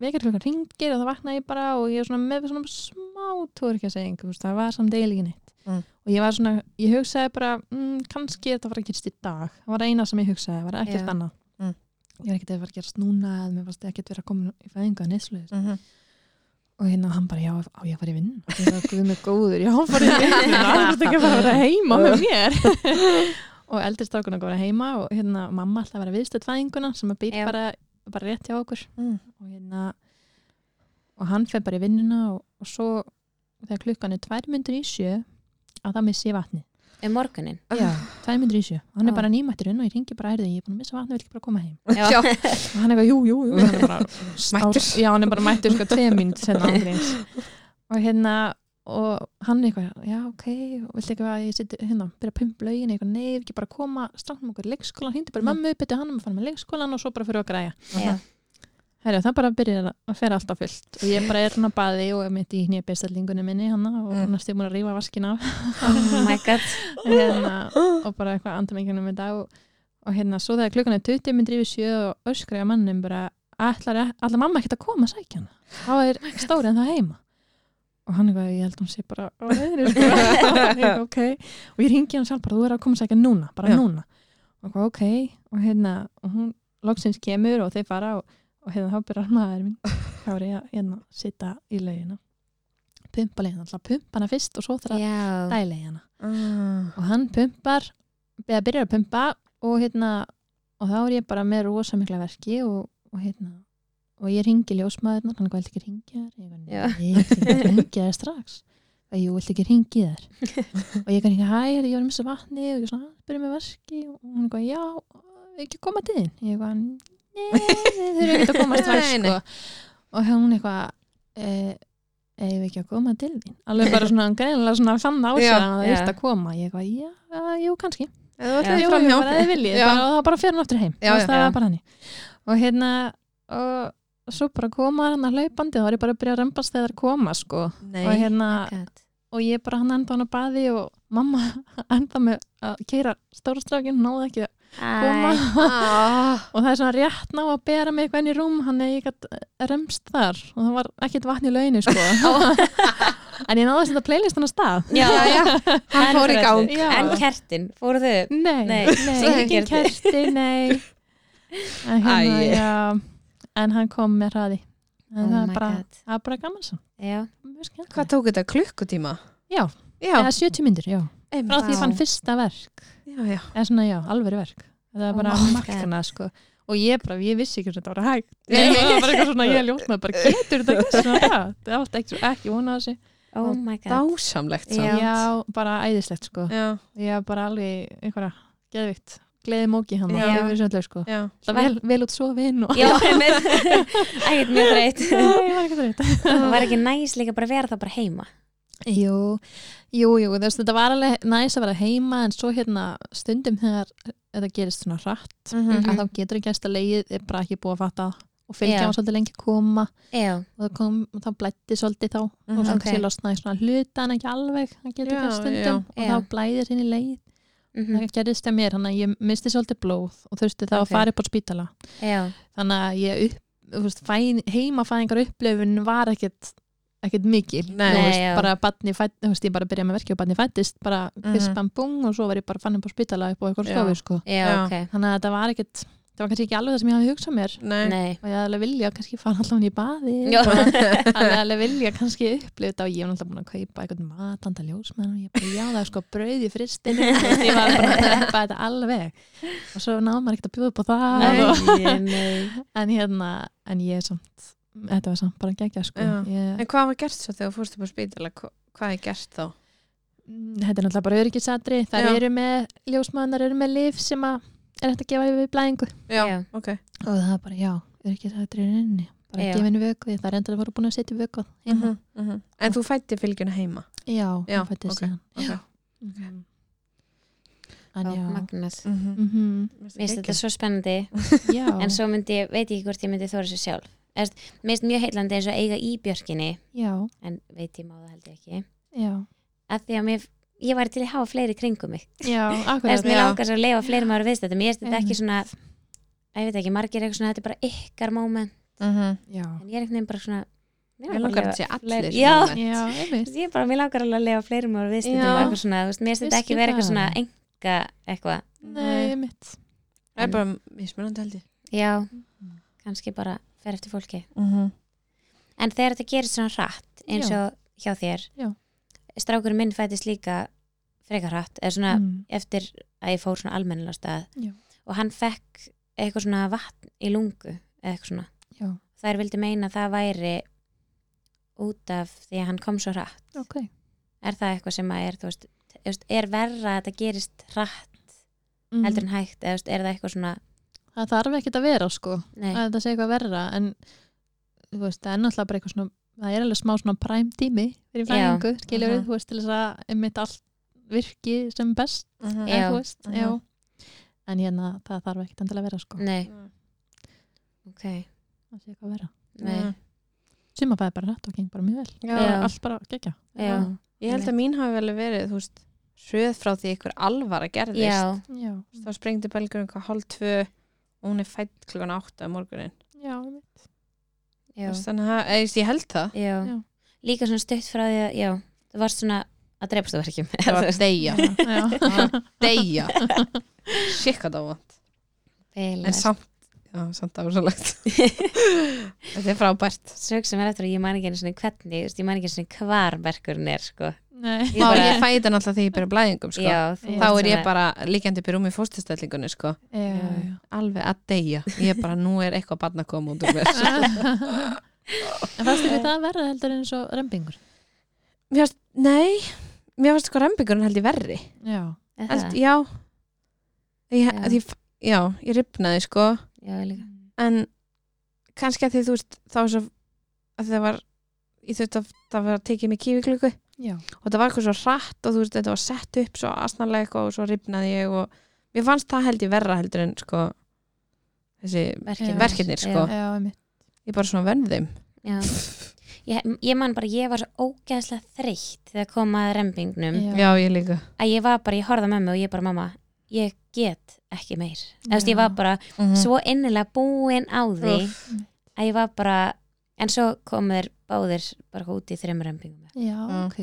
vekar klokkan ringir og það vaknaði ég bara og ég var svona með svona smá túrkjaseging það var samt eiginlega ekki neitt
Mm.
og ég var svona, ég hugsaði bara mm, kannski er þetta var að gerast í dag það var eina sem ég hugsaði, það var ekkert
Já.
annað
Mm.
ég var ekkert að það var að gerast núna eða mér varst ekkert verið að koma í fæðinga neðsluðis
Mhm.
og hérna hann bara, já, á ég að fara í vinn og ég var guð með góður, já, hann fara í vinn það er ekki að fara að vera heima með mér og eldri strákun að vera heima og hérna, mamma alltaf að vera viðstöð fæðinguna sem að býr
Já.
bara, bara rétt hjá okkur
Mm.
og hérna og hann fer bara í vinnuna og, og svo þegar klukkan er tvær myndur í sjö að það missi ég vatni
um morgunin
já, tvær myndur í sjö, hann
Já.
er bara nýmætturinn og ég ringi bara erðu, ég er búin að missa vatni, vil ekki bara koma heim
Já.
Já.
og hann er eitthvað, jú, jú, jú hann er bara,
Mættur.
já, hann er bara mættur sko tveið mynd senna ángríns og hérna, og hann er eitthvað já, ok, og viltu eitthvað að ég seti hérna, byrja að pumpa lögin, eitthvað, nei, ekki bara koma stráknum okkur í leikskólan, hindi bara mammu, byrja hann um að fara með leikskólan og svo bara fyrir að græja
Já.
Herra, það bara byrjar að fer alltaf fullt og ég bara er hann að baði og er mitt í hnjöpeistellingunni minni hann og
Mm.
hann er stímur að rífa vaskin af
oh my god
hérna, og bara eitthvað andum einhvernum í dag og, og hérna, svo þegar klukkan er 20 minn drífið sjö og öskraði að mannum bara, ætlar, e-, ætlar mamma ekkert að koma að sækja hana þá er stóri en það heima og hann eitthvað, ég held hún sé bara á reyðri sko. Ég, ok, og ég ringi hann sjálf bara, þú er að koma að sækja núna, bara
Já.
núna og eitthvað, ok, og hérna og hún loksins kemur og þeir fara og, og hérna, þá byrjar maður minn Kári að hérna, sitta í laugina pumpa leiðina, alltaf pumpa hana fyrst og svo þarf að
já,
dæla í hana
Mm.
og hann pumpar eða byrjar að pumpa og hérna og þá er ég bara með rosa mikla verki og, og hérna og ég ringi ljósmaðurnar, hann gælt ekki ringja
Já.
þær ég vil ekki ringja þær strax og ég vilt ekki ringja þær og ég kann ekki, hæ, heyrðu, ég var að missa vatni og ég svona, byrja með verki og hann gæt, já, ekki koma til þín ég gæt, nei, þið þurfum ekki að koma strax
Nei, nei.
sko. og hún eitthvað eh, eigum við ekki að koma til þín alveg bara svona greinilega svona fann á sig
Já,
að það
já.
ert að koma ég eitthvað, já, jú, kannski jú,
Það var
Já.
allir
jú,
fram hjá
bara þið viljið,
Já.
bara, og það bara fer hann aftur heim
Já,
Þú veist,
já.
það
Já.
var bara henni og hérna, og svo bara koma hann að hlaupandi, þá er ég bara að byrja að rembast þegar þær koma, sko
Nei,
og hérna,
god.
og ég bara hann enda hann að baði og mamma enda með að keira stóra strákin, náði ekki að koma
Æ,
Ah.
og það er svona rétt ná að bera mig eitthvað inn í rúm hann er ég gætt remst þar og það var ekkert vatn í launinu sko. en ég náði að setja playlistan á stað
já, já.
hann fór í gang
Já.
en kertin, fóru þau
nei,
Nei,
nei,
svo ekki
engin
gerði.
kerti nei. en, hérna,
Æi.
já, en hann kom með hraði en
Oh
það
my
er bara,
God.
það er bara gaman svo
já,
Mjög skemmtilegt.
Hvað tók þetta? Klukkutíma?
Já.
Já,
eða 70 myndir, já frá því
Vá.
ég fann fyrsta verk
já, já.
eða svona já, alveg verk það er bara
Oh my
makkana sko og ég bara, ég vissi ekki að þetta var hægt
Nei.
ég var bara eitthvað svona, ég ljótt með bara getur þetta ekki svona hratt? það var ekki, ekki vona þessi
oh my god
Dásamlegt samt.
Já.
já, bara æðislegt sko
Já,
ég var bara alveg einhverja geðvikt gleði móki hann
Já.
yfir sjöndlega sko
já.
það vel, vel út svo vinn og
já, með ekkert mjög þreitt
Já, ég var ekki þreytt.
og var ekki næs líka bara að vera það bara heima
jú, jú, jú, þú veist þetta var alveg næs að vera heima en svo hérna stundum þegar þetta gerist svona hratt
Mhm.
að þá getur ekki gæst að leið er bara ekki búið að fatta og fylgja
Já.
hann svolítið lengi koma
já,
og það kom, þá blætti svolítið þá
Mhm.
og svo
Ok.
kannski losnaði svona hluta en ekki alveg, það getur
Já,
ekki
já.
stundum og
Já.
þá blæðir henni leið
mhm,
það gerðist hjá mér, þannig að ég misti svolítið blóð og þurfti þá
Ok.
að fara upp á spítala
já,
þannig að ég upp, þú veist, fæn, heimafæðingar upplöfun var ekkert ekkert mikil,
Nei.
Þú
Nei,
veist,
já.
bara batni fætt, þú veist, ég bara byrjaði með verki og batni fættist, bara
Mhm.
fyrst bam búm og svo var ég bara fann upp á spítala upp á eitthvað
Já.
stofu, sko
já,
Já.
ok
þannig að það var ekkert, það var kannski ekki alveg það sem ég hafi hugsað mér
Nei.
nei,
og ég hafði alveg vilja kannski fara allan í baði
já,
alveg alveg vilja kannski upplifa þetta og ég var náttúrulega búin að kaupa eitthvað matanda ljósmenn og ég bara, já það er sko brauð í fristinu og ég var bara að preppa þetta alveg og svo náðum maður ekkert að bjóða upp á það
Nei.
og,
nei
en hérna, en ég er samt þetta var samt bara gegja sko
Já.
ég,
En hvað var gert svo þegar þú fórst upp á spítala? Hva- Hvað er gert þá?
Mm, þetta er náttúrulega bara öryggisatri það
Já.
eru með, ljósmennar eru með lif sem að er hægt að gefa við blæðingu
Já,
Já.
ok.
og það er bara, já, öryggisatri er inni bara
Já.
gefa henni vökuði, það er endur að voru búin að setja vökuð
Mm En þú fætti fylgjuna heima?
já, um
Já,
hún fættist
ok,
síðan.
ok.
Mhm. En já.
magnað
Mhm.
Mhm.
Mér finnst þetta svo spennandi
já.
en svo myndi, ég- veit ég ekki hvort ég myndi þóra sér sjálf Eða, þú veist, Mér finnst mjög heillandi eins og eiga í björkinni
já,
en veit ég má það held ég ekki
já,
að því að mér, ég væri til að hafa fleiri kringum mig
já,
Þess,
akkurat
mér
Já.
langar svo að leifa fleiri maður viðst þetta mér finnst þetta ekki
Einmitt.
svona að ég veit ekki, margir eru eitthvað svona, þetta er bara ykkar moment
Mhm.
já,
en ég er einhvern veginn bara svona
Ég langar
að
að sé allir
Já.
svona.
já, einmitt
ég er bara, mér langar alveg að leifa fleiri maður viðst
Já.
þetta mér finnst
Ég
þetta ekki
skil
vera eitthvað
það.
svona enga eitthvað,
nei,
Mm.
einmitt
Það er bara mismunandi held ég
já kannski bara fer eftir fólki
Mhm.
En þegar þetta gerir svona hratt eins
Já.
og hjá þér
Já.
strákurinn minn fættist líka frekar hratt eða svona
Mm.
eftir að ég fór svona almennilega af stað
Já.
og hann fekk eitthvað svona vatn í lungu eða eitthvað svona.
já,
Þær vildi meina að það væri út af því að hann kom svo hratt.
ok
Er það eitthvað sem að er, þú veist, þú veist, er verra að þetta gerist hratt
Mhm.
Mm. heldur en hægt eða þú veist, er það eitthvað svona,
það þarf ekkert að vera sko
nei,
að það sé eitthvað verra en þú veist, það er náttúrulega bara eitthvað svona það er alveg smá svona præm tími fyrir
Já.
fæðingu, skiljur
Mhm.
þú veist, til þess að einmitt allt virki sem best
Mhm.
Já.
eða, þú veist,
Mhm.
já en hérna, það þarf ekkert endilega að vera sko
nei,
Mhm.
ok,
það sé eitthvað verra,
nei,
Mhm.
suma fæði bara rætt og geng bara mjög vel,
Já.
Bara
Já.
allt bara gegja
já,
Ég held að mín hafi vel verið þú veist, Söð frá því ykkur alvara gerðist
já,
já,
Þá sprengdi belgur einhver hálf tvö og hún er fætt klukkan átta um morgunin
já,
já,
Þannig að eða, þú veist, ég held það
já.
Já.
Líka svona stutt frá því að, já, það varst svona að dreipast það verkjum.
Það var deyja
já,
Deyja Sikka það var En samt, já, samt ásalegt Þetta er frábært
Sög sem er eftir að ég man ekki einu svona hvernig, þú veist, ég man ekki einu svona hvar verkurinn er, sko.
nei
Ég
Má
bara-
ég fæði þetta náttúrulega þegar ég byrja blæðingum sko.
Já,
Þá
Þá
varst
er ég
svona-
bara líkjandi upp í rúmi fóstustellingunni sko.
já, já.
Alveg að deyja Ég er bara, nú er eitthvað barn að koma út úr mér
en fannst ykkur það verra heldur en eins og rembingur
mér varst, Nei, mér varst sko rembingurinn held ég verri
já,
Er það?
held, Já ég,
Já.
já. Ég, f- já, ég ripnaði sko
Já, ég líka.
En kannski að því þú veist þá svo að það var ég þurfti að það var að tekið mig kífiklöku
já,
og það var eitthvað svo hratt og þú veist þetta var sett upp svo asnalega eitthvað og svo ripnaði ég og mér fannst það held ég verra heldur en sko þessi,
Verkirnir.
Verkirnir, sko.
Já,
já, einmitt
ég bara svona vönn þeim
já. Ég, ég man bara, ég var svo ógeðslega þreytt þegar kom að rembingnum,
já ég líka
að ég var bara, ég horfði á mömmu og ég bara, mamma, ég get ekki meir. Þú veist, ég
Já.
var bara
mm
svo innilega búin á því
Úff.
að ég var bara, en svo komur báðir bara út í þreim rembingum.
já,
Já.
ok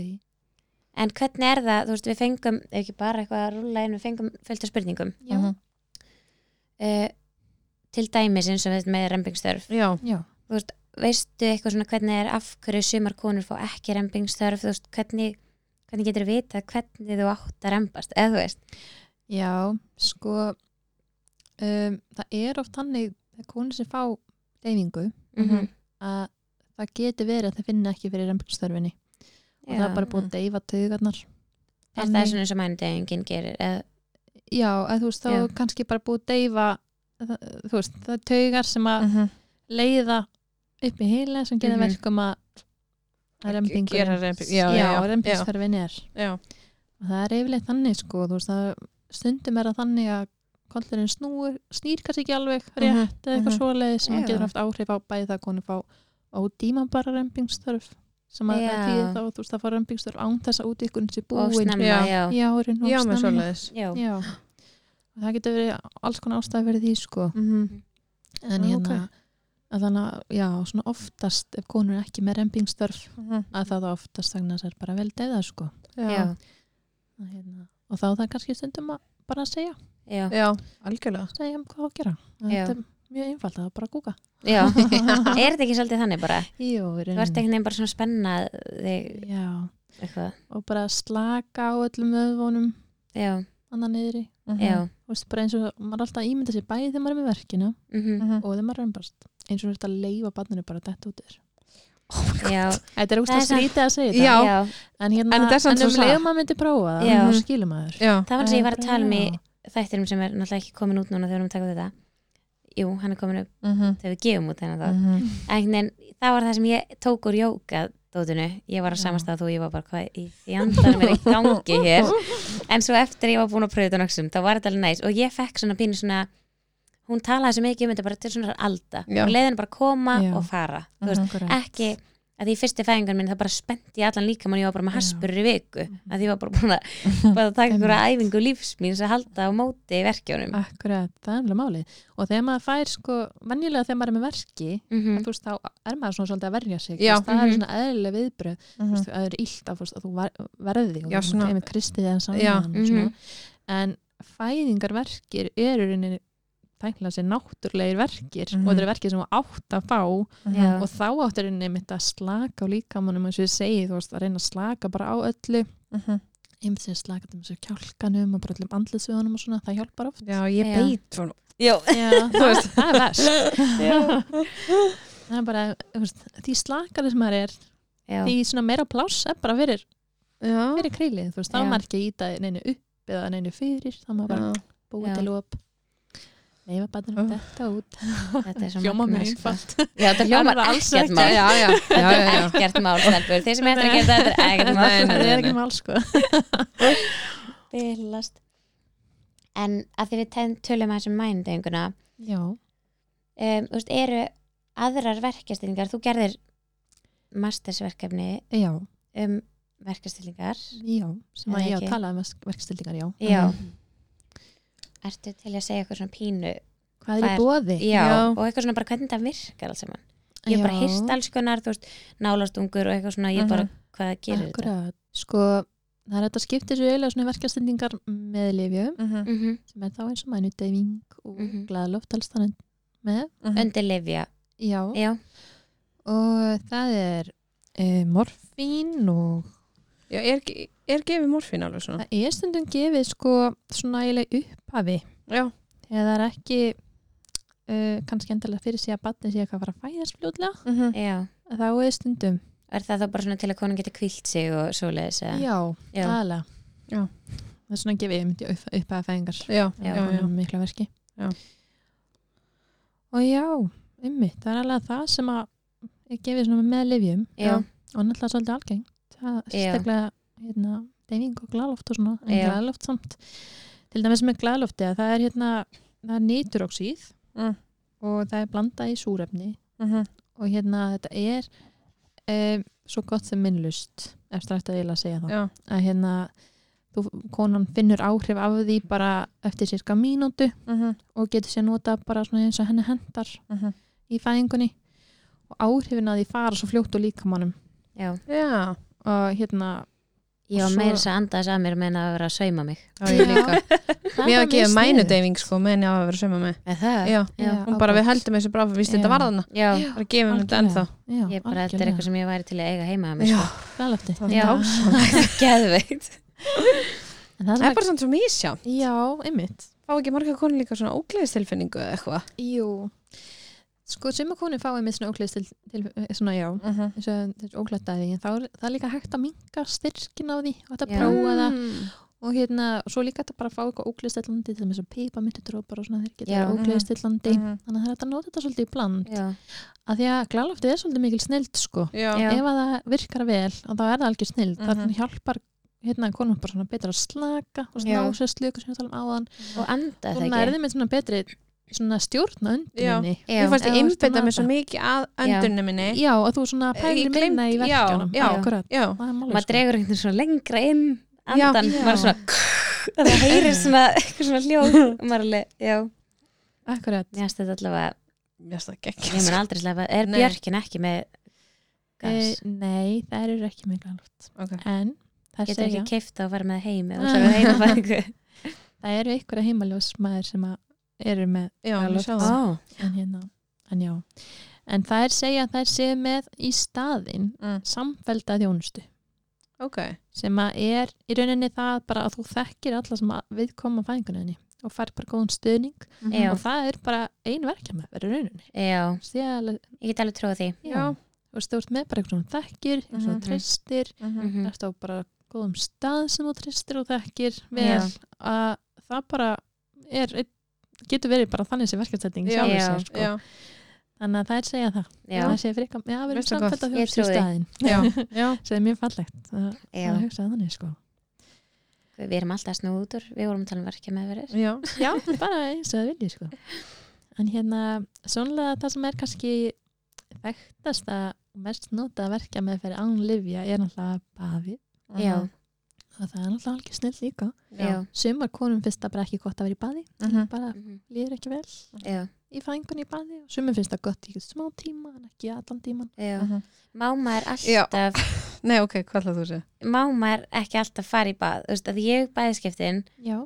En hvernig er það, þú veist, við fengum ef ekki bara eitthvað að rúla en við fengum fullt af spurningum
já,
uh, til dæmis eins og við með rembingstörf
já,
já,
veistu eitthvað svona hvernig er af hverju sumar konur fá ekki rembingstörf þú veist, hvernig, hvernig getur þú vita hvernig þú átt að rembast, eða þú veist
Já, sko um, það er oft þannig að konur sem fá deyfingu
mm
Mhm.
að það geti verið að það finna ekki fyrir rembingstörfinni og það er bara búið að deyfa taugarnar
er það svona eins og mænudegingin gerir eða,
Já, að þú veist, þá
Já.
er kannski bara búið að deyfa það, þú veist, það er taugar sem að
Mhm.
leiða upp í heila sem gera
Mhm.
verkum að að
Að
rembingurinn-
gera rembing- já, já, já.
rembingsferfin er
já,
og það er yfirleitt þannig sko þú veist að stundum er það þannig að kollurinn snúir, snýr kannski ekki alveg rétt
Mhm,
eða eitthvað
mhm.
svoleiði sem
Já.
getur haft áhrif á bæði það að konu fá ódýmabara rembingstörf sem að
Já.
það þýðir þá þú veist að fá rembingstörf án þess að útvikkun sé
og
búin
snemma,
Já.
já,
í árin og
já með
snemma
svoleiðis
já.
Já. og það getur verið alls konar ástæði fyrir því sko
Mhm.
en
Ah,
hérna
ókei.
að þannig að já, svona oftast ef konur er ekki með rembingstörf
Mhm.
að það þá oftast þannig að það er bara vel deyða sko
já,
Að hérna, og þá er það kannski stundum að bara að segja
já,
já, algjörlega
segja um hvað á að gera
Já.
þetta er mjög einfalt, það er bara að googa
já. er þetta ekki svolítið þannig bara
Jó,
þú ert ekki nefn bara svona spennað þig,
Já,
eitthvað,
og bara slaka á öllum öðvónum
já,
annan niðri
Mhm.
já
Þú veist, bara eins og maður er alltaf að ímynda sér bæði þegar maður er með verkina
mhm,
Mhm.
og þegar maður er römbast eins og þetta að leifa barninu bara dett út þér
já,
Þetta
Það
er úrst
er
að
samt-
skrýta að segja
Já.
þetta
já
en, hérna,
En þetta er samt
en um
svo satt.
leiðum maður myndi prófa það
Já.
þá skilur maður
já,
það var eins og ég var að
Bara,
tala um í
já.
þættinum sem er náttúrulega ekki komin út núna þegar við erum að taka þetta jú, hann er komin upp
Mhm.
þegar við gefum út þennan þá
Mhm.
en,
Mm.
en það var það sem ég tók úr jóka dótinu, ég var á
Já.
samastað þú og ég var bara hvað í því andanum er í gangi hér en svo eftir ég var búin að pröfa þetta noksum þá var þetta alveg næs og ég fekk svona pínu svona hún talaði svo mikið um þetta bara til svona alda
Já.
og leiðin bara að koma
Já. Mhm.
og fara þú veist,
Akkurat.
ekki að því fyrsti fæðingar minn það bara spennti ég allan líka mann ég var bara með
Já.
haspur í viku að því ég var bara búin að, bara að taka einhverja æfingu lífs mín sem halda á móti í verkjónum
Ah. Akkurat, það er alveg málið. Og þegar maður fær, sko, venjulega þegar maður er með verki,
mm
mm. þú veist, þá er maður svona svolítið að verja sig.
Já. Mm.
Já. Það er
Mhm.
svona eðlileg viðbröð,
Mhm.
þú veist, það er illt að, þú veist, að þú ver- verði þig og
Já,
þú
svona-
kemur kristið en saman.
Já. mhm.
og svona. En fæðingarverkir eru rauninni tæknilega sér náttúrlegir verkir
Mhm.
og þetta er verkir sem þú átt að fá
Já.
og þá átt er rauninni mitt að slaka á líkamanum eins og ég segi, þú veist, að reyna að slaka bara á öllu, einmitt sem slaka til þessu kjálkanum og bara öllum andlisviðunum og svona, það hjálpar oft.
Já, ég
Já.
beit svona
já,
Já, það, það er verst það er bara þú veist, því slakari sem maður er
já,
því svona meira pláss er bara fyrir,
Já,
fyrir krílið, þú veist,
Já.
þá er maður ekki að íta neinu upp eða neinu fyrir, þá er maður bara
já.
Já.
búið til op leifa
Úff.
bætunum þetta út
þetta er svo
hljóma
magnað,
mér
sko.
einfalt
já, þetta hljómar
Það er það alls
ekkert
ekki.
mál
Ah, já, já, já,
þetta er
já, já.
ekkert mál, stelpur þeir sem eftir að gera þetta, þetta er ekkert mál
Nei, nei,
það er
nei.
ekki mál sko
Bilast. en að því við ten- tölum að þessum mændenguna
já,
um, þú veist, eru aðrar verkjastillingar þú gerðir mastersverkefni
já,
um verkjastillingar
já sem
Eða
að ég
ekki.
talaði um verkstildingar, já
já,
Mm.
Mhm.
ertu til að segja eitthvað svona pínu
hvað
Hvað
er í
er-
bóði?
já,
Já.
og eitthvað svona bara hvernig það virkar alls saman ég hef bara
Já.
hýrst alls konar, þú veist, nálastungur og eitthvað svona, ég bara, hvað gerir þetta
Akkurat. sko, það er þetta skiptir svo eiginlega svona verkstildingar með lifjum
Mhm,
Mhm,
sem er þá eins og mænudeyfing og mm
Mhm.
-hmm. glaðloftalstaninn með
mhm.
undir lifja
já,
já,
og það er e, morfín og
Já, er, ge- er gefið morfín alveg svona?
það er stundum gefið sko svona eiginlega upphafi
Já,
þegar það er ekki e, kannski endalega fyrir sig að batni sé eitthvað að fara að fæðast fljóðlega
mhm.
já
þá er stundum
er það þá bara svona til að konan geti kvílt sig og svoleiðis eða?
já,
Já.
aðalega
Já.
það er svona gefið myndi upp, upphafi fæðingar
já,
Já.
já, já.
konum mikla verki
Já.
og já, ymmi það er alveg það sem að er gefið svona með lifjum
já,
og náttúrulega svolítið algengt það er
Já.
sérstaklega hérna, deyfing og glaloft og svona
Já.
en glaloft samt til dæmis með glalofti að það er hérna það er nýturóksíð
Mm.
og það er blandað í súrefni
Mhm,
og hérna þetta er um, svo gott sem minnlust ef strætt að ég að segja það
já,
að hérna þú, konan finnur áhrif af því bara eftir sirka mínútu
mhm,
og getur sér nota bara svona eins og henni hendar
mhm.
í fæðingunni og áhrifin að því fara svo fljótt og líkamannum
já
Já,
og hérna
ég var
Svo-
meira svo andað að mér meina að vera að sauma mig
þá er ég líka. Mér hafa gefið
mænudegi
mænudeyfing sko, menn ég hafa verið sömu með.
eða það?
Já,
Já.
hún bara við heldum þessu bráfa, víst þetta
Já.
var þarna.
já,
Bara gefum þetta ennþá.
Algjörlega. já,
ég bara, þetta er eitthvað sem ég væri til að eiga heima að mér
Já,
sko.
glalöfti
það
Já.
er dásan.
geðveikt
Það er bara svona svo misjátt.
já, einmitt
Fá ekki marga konur líka svona ógleðistilfinningu eða eitthvað.
jú sko sem að konu fá einmitt svona óklæðist til, til eh, svona já
Mhm.
eins og þessu óklæðdæði en þá er það er líka hægt að minka styrkin á því og þetta
Já.
prófa það
Mm.
og hérna, svo líka þetta bara að fá eitthvað óklæðstillandi til þess að pipa myndutrópar og svona þeir geta
Já. Mm.
verið óklæðstillandi
Mhm.
þannig að það er hægt að nota þetta svolítið í bland
já,
að því að glaloftið er svolítið mikil snild sko
Já,
Já.
ef að það virkar vel og þá er það algjör snild mm
Mhm.
þannig hjálpar hérna konum bara svona betur að slaka og
Já.
svona ásess slöku sem við talum áðan
og anda það
og það er
ekki
þeim með svona betri svona stjórna undininni
já, Eh.
Ég fannst
Já,
ég
þú veist
einbetta
að
mér svo
nota.
mikið að öndunni minni.
já og þú svona
Ég
pælir
gleymdi-
minna í
já,
verkjánum
já.
akkurat,
Já,
það er máli
maður
sko.
dregur einhvern veginn svona lengra inn
Já.
andan,
Já.
maður er svona það heyrir svona, eitthvað svona hljóð og maður er alveg, já,
akkurat,
mér finnst þetta allavega
mér finnst það
ég
geggjast.
mun aldrei slepa, er
Nei.
Björkin ekki með
e,
gas,
nei það eru ekki með glaloft
Ok.
en það
getur
segja
ekki kifta og fara með það heimi og
Nei.
það er heimafæðingu
það eru einhverja heimaljósmaður sem að eru með
Já, ég sá það.
Ó,
en hérna, en já en það er segja að það er segja með í staðinn
Mm.
samfelda þjónustu
Ok.
sem að er í rauninni það bara að þú þekkir alla sem að við koma fæðingunni og fær bara góðan stuðning
Já.
og það er bara ein verkja með verið rauninni
já,
Sjæl,
ég get alveg trúið því
já, og stjórn með bara einhvern veginn þekkir, einhvern
Mhm.
veginn treystir
Mhm.
Mhm.
þetta á bara góðum stað sem þú treystir og þekkir vel
Já.
að það bara er einn- getur verið bara þannig sem verkefstætting
Já.
sjálfur
Já.
sér sko.
Já,
þannig að það er segja það
já,
það sé frekar, já, við erum
Veist það
samfætt
gott.
að
Ég
hugsa um í
trúi því.
staðinn
já, já.
sem er mjög fallegt að
já,
að hugsa þannig sko
við erum alltaf að snúa út úr við vorum að tala um verkja meðverðir
já,
Já, bara eins og það viljið sko. En hérna, svonlega það sem er kannski þekktasta og mest nota verkja með fyrir án livja er náttúrulega baði
já,
og það er náttúrulega alveg snill líka.
já,
Sumar konum finnst það bara ekki gott að vera í baði,
Mhm.
bara
mhm,
líður ekki vel
já,
í fængun í baði og sumar finnst það gott í smá tíma en ekki allan tíman.
já.
Mhm.
máma er
Já.
alltaf
nei ok, hvað ætlaðu þú að segja?
máma er ekki alltaf að fara í bað þú veist að ég bæðiskeftin
Já,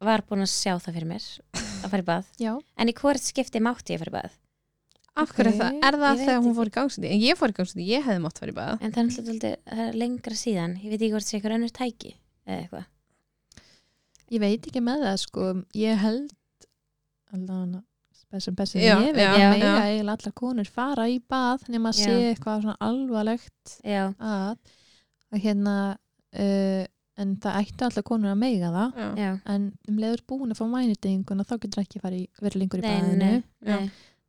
var búin að sjá það fyrir mér að fara í bað
já,
en í hvort skipti mátti ég að fara í bað
af hverju
Ok,
okay. það, er
ég
það
veit
þegar hún
ekki.
fór í gangstundi en ég fór í gangstundi, ég hefði mátt fara í bað
en það er, náttúrulega dálítið- það er lengra síðan ég veit ekki hvort sé eitthvað önnur tæki eða eitthvað
ég veit ekki með það sko, ég held allan að sem best sem
Já,
ég veit,
já,
ég
já.
meira eiginlega allar konur fara í bað nema að
Já.
sé eitthvað svona alvarlegt
já,
að að hérna uh, en það ættu allar konur að meiga það
já,
já,
en um leiður búin að fá mænudegingun þá getur ekki farið í- verið lengur í
nei,
baðinu
nei, nei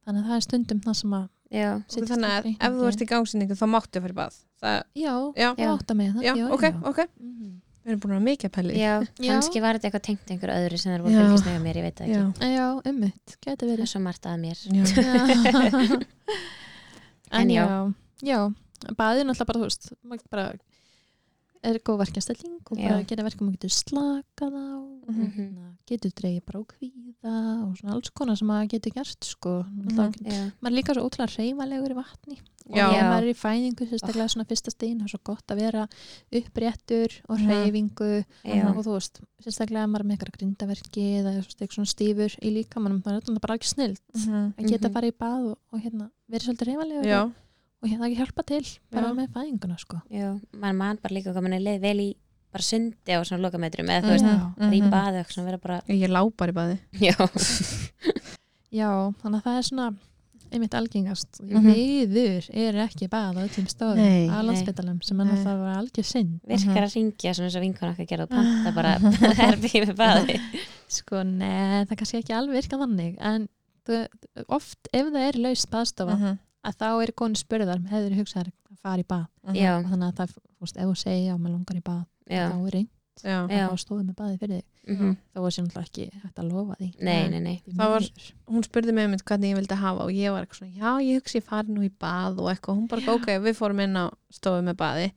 þannig að það er stundum það sem að
já,
Og þannig að ef þú ert í gangstundi þá máttu að fara í bað það,
já,
já,
já, átta mig það
já, ok, ok
Mhm.
við erum búin að vera mikið að pæli
já,
Já.
kannski var þetta eitthvað tengt einhver öðru sem það voru að
Já.
fylgjast með mér, ég veit það ekki
já,
já, ummitt, getur
það
verið
er svo margt að mér
já.
en,
En já.
já já, baðið er náttúrulega bara þú veist, maður bara er góð verkjastelling og bara
Já.
gera verkum maður getur slakað á
Mhm.
hérna, getur dreigið bara á kvíða og svona alls konar sem maður getur gert sko,
Mhm.
mm
já,
maður er líka svo ótrúlega reyfalegur í vatni og
Já.
ef maður er í fæðingu
Oh.
sérstaklega svona fyrsta stein, það er svo gott að vera uppréttur og reyfingu
Mhm. já,
og þú veist, sérstaklega ef maður er með eitthvað grindaverki eða þú veist, eitthvað svona stífur í líkamanum, það er þetta bara ekki snill
Mhm.
að geta
Mhm.
farið í bað og, og hérna, verið svolítið reyfanlega
já. Mhm.
og, og hérna ekki hjálpa til bara
Já.
með fæðinguna sko.
já mann man bara líka hvað mann er leið vel í bara sundi á svona lokametrum eða þú
Mhm.
veist,
Já.
bara í
Mhm.
baði og eitthvað svona vera bara,
ég lá bara í baði
já,
Já, þannig að það er svona einmitt algengast
Mhm.
viður eru ekki bað á öllum
Nei.
stofum á landsbytalum sem er
Nei.
náttúrulega að vera algjör synd
virkar að ringja svona eins og vinkona okkar gerði og panta bara herbyggi með baði
sko, neð, það kannski ekki alveg virka þannig en þú- oft ef það er laust baðstofa
Mhm.
að þá er konu spurðar hefur þið hugsað að fara í bað
Mhm.
já,
og þannig að það, þú veist, ef þú segir að maður langar í bað
já,
þá er einn
já.
Já.
að fá stofu með baði fyrir þig
mhm.
þá var sér náttúrulega ekki hægt að lofa því
nei, nei, nei
Því
Það var-
miður.
hún spurði mig um hvernig ég vildi hafa og ég var eitthvað svona, já ég hugsi ég fari nú í bað og eitthvað, hún bara ok, við fórum inn á stofu með baði,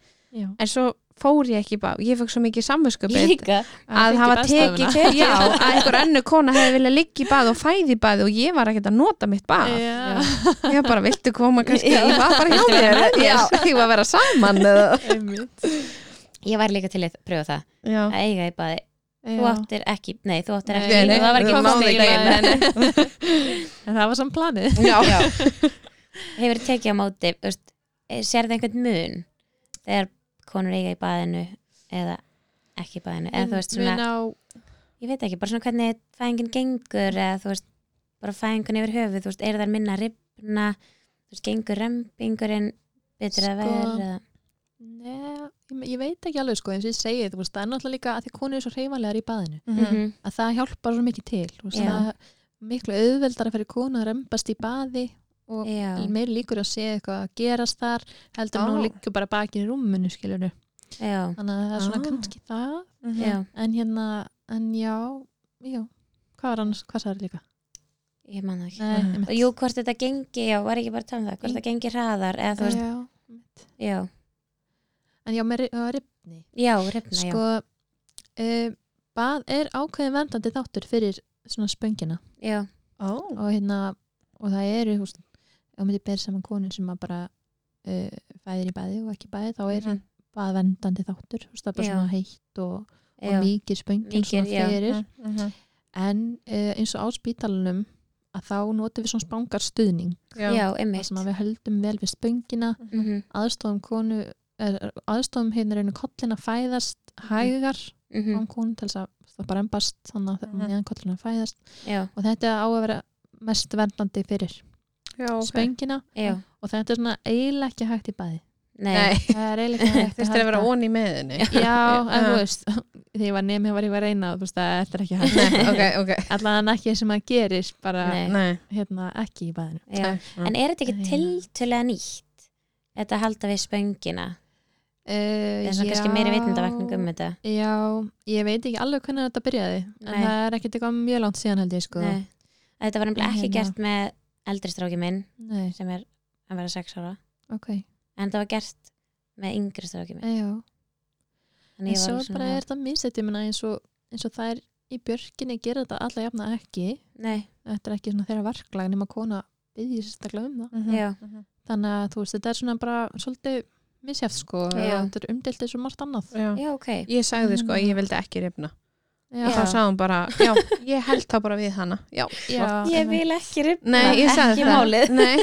Já.
en svo fór ég ekki í bað, ég fekk svo mikið samvöskupið
líka,
að hafa tekið
kemur
já, að einhver önnu kona hefði viljað ligga í bað og fæði í bað og ég var ekkert að nota mitt bað
já,
ég var bara, viltu koma kannski,
Já.
ég var bara hjá
Viltu vera
mér
með mér?
já, ég var að vera saman eða-
ég var líka til að pröfa það
já,
að eiga í baði, þú áttir ekki nei, þú áttir ekki,
Nei,
og
nei,
það var ekki
það var
máli í
ekki-
daginn
en það var samt planið
já,
hefur tekið á móti þú veist, sér það einhvern mun þegar konur eiga í baðinu eða ekki í baðinu eða þú veist svona,
Mun á,
ég veit ekki, bara svona hvernig fæðingin gengur eða þú veist, bara fæðingun yfir höfuð þú veist, eru þær minna að ripna þú veist, gengur rempingurinn betur að
Sko,
vera eða-
neð, ég, ég veit ekki alveg sko eins og ég segi, þú veist, það er náttúrulega líka að því konu er svo reyfanlegar í baðinu
Mhm.
Mhm,
að það hjálpar svo mikið til þú veist,
Já.
það er miklu auðveldar að fyrir konu að rembast í baði og
já,
meir líkur að sé eitthvað að gerast þar heldur en
Ó.
hún liggur bara bakið í rúmunu skilur
já,
þannig að það er svona
Á.
kannski það
Mhm.
já,
en hérna, en já, já hvað var annars, hvað sagði líka?
ég man það ekki
Nei,
Mhm.
einmitt.
og jú, hvort þetta gengi, já, var ekki bara að tala um það hvort
Í-
það gengi hraðar, eða þú veist,
já.
já
en já, með ri- á ripni
já, ripna, já,
sko, uh, bað er ákveðin verndandi þáttur fyrir svona spöngina
já
Ó.
og hérna, og það eru þú veist, ef maður ber saman konur sem að bara uh, fæðir í baði og ekki í baði þá er
Mhm.
bað verndandi þáttur þú veist, það er bara
Já.
svona heitt og, og
já,
mikið spöngin
Mikið,
svona
já.
fyrir
Mhm.
en uh, eins og á spítalunum að þá notum við svona spangarstuðning
já,
það
einmitt
sem að við höldum vel við spöngina
Mhm,
aðstofum konu er- aðstofum hérna reynu kollin að fæðast hægar
mhm,
án konu til þess að það bara embast þannig að
Mhm.
meðan kollin að fæðast
já,
og þetta á að vera mest verndandi fyrir
já, ok
spöngina
já,
og þetta er svona eiginlega ekki hægt í bæði
nei,
nei,
það er eiginlega ekki hægt
þetta er að vera ón í meðinni
Já,
Uh-huh.
en þú
Já.
veist, þegar ég var nemi var ég að reyna þú veist, að þetta er ekki hægt
ok, ok,
allan ekki sem að gerir bara
nei,
nei
hérna, ekki í bæðinu
já
nei.
en er þetta ekki
Nei.
tiltölega nýtt þetta að halda við spöngina Það er svona kannski meiri vitundavakning um þetta
Eh, Já, ég veit ekki alveg hvernig þetta byrjaði en
Nei.
það er ekkert eitthvað mjög langt síðan held ég sko
Nei. Að Þetta var nefnilega ekki
Hérna.
gert með eldri stráki minn
Nei,
sem er að vera 6 ára
ok
en það var gert með yngri stráki minn
e, já. En
Þannig ég
svo
var
bara
svona
er þetta minnstætt ég minna eins og, eins og það er í björkinni gera þetta alla jafna ekki
Nei,
þetta er ekki svona þeirra verklag nema kona byggði sérstaklega um það
Mhm.
já,
þannig að þú veist þetta er svona bara svolítið misjæft sko
Já.
þetta er umdelt eins og margt annað
Já.
já, ok
Ég sagði sko að ég vildi ekki rifna.
Já,
Þá sagði hún bara, já, ég held það bara við hana. Já.
já,
Ég
einmitt.
vil ekki rifna
Nei, ég sagði
Ekki
það.
málið
Nei.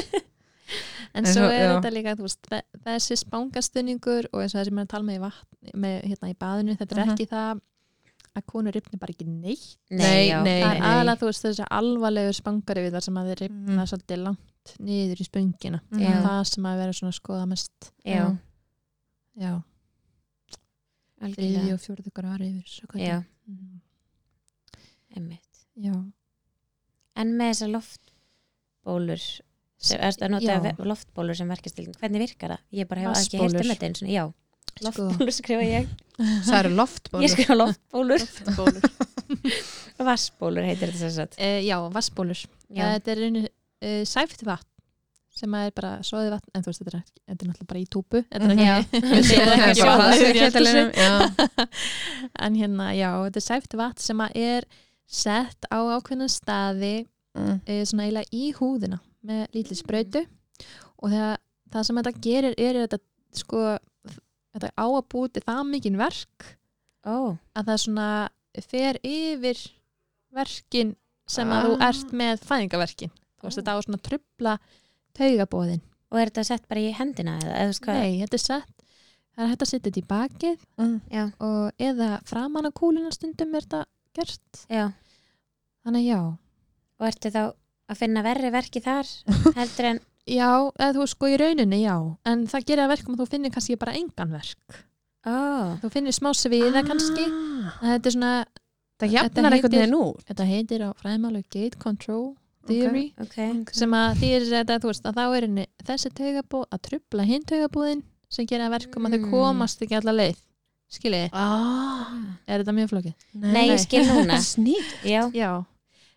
En
En
svo
svo-
er
já.
þetta líka, þú veist, þe- þessi spangastunningur og eins og það sem er að tala með í vatn, með hérna í baðinu, þetta er
Mhm.
ekki það að konur ripni bara ekki neitt.
Nei,
Nei,
já,
nei,
það er
nei.
aðalega, þú veist, þessi alvarlegur spangari við það sem að þeir ripna
Mhm.
svolítið langt niður í spöngina.
Já.
Það er það sem að vera svona að skoða mest.
Mhm. já,
Já, þriði
algjörlega
og fjórðu ykkur ári yfir. svo hvað
Já,
það- Mhm.
einmitt
Já.
En með þessar loftbólur sem, ertu að nota
Já.
ve- loftbólur sem verkastildin Hvernig virkar það? Ég bara hef ekki heyrt
Vatnsbólur.
um þetta eins og já
Sko.
Loftbólur skrifa ég
Það
Ég
eru
sko-
loftbólur.
skrifa loftbólur
Vassbólur.
Vassbólur heitir þetta sér satt
Eh, já, vassbólur.
Já,
Þetta er einu uh, sæft vatn sem að er bara soðið vatn, en þú veist, þetta er, ekki- þetta er náttúrulega bara í túpu. Þetta er
Mhm.
ekki
já,
Ég er
Það
ekki
er
að sjá
bara
það.
hlaðið
Ég held að
kettlinum, já.
en hérna, já, þetta er sæft vatn sem að er sett á ákveðna staði
Mm.
e, svona eiginlega í húðina með lítið sprautu og það, það sem þetta gerir er að þetta sko, þetta á að búa til það mikinn verk
ó,
að það svona fer yfir verkin sem að þú
Ah.
ert með fæðingaverkin þú veist,
Ó.
þetta á að svona trubla taugabóðin
og er þetta sett bara í hendina eða, eða þú veist hvað,
Nei, þetta er sett það er hægt að setja þetta í bakið
Mm.
Já.
og eða framan á kúluna stundum er þetta gert
já
þannig að já,
og ertu þá að finna verri verki þar heldur en,
já, eða þú sko í rauninni já, en það gerir að verkum að þú finnir kannski bara engan verk
ó,
þú finnir smá sviða kannski
Ah.
En þetta er svona,
Það
Þetta
jafnar einhvern
heitir-
veginn út.
þetta heitir á fræðmálu gate control theory
ok
sem að því er þetta, þú veist, að þá er henni þessi taugabóð að trubla hinn taugabóðin sem gerir að verkum að þau
Mm.
komast ekki alla leið skiljiði,
Ah.
er þetta mjög flókið?
Nei, ég skil núna
Snýtt.
já,
Já,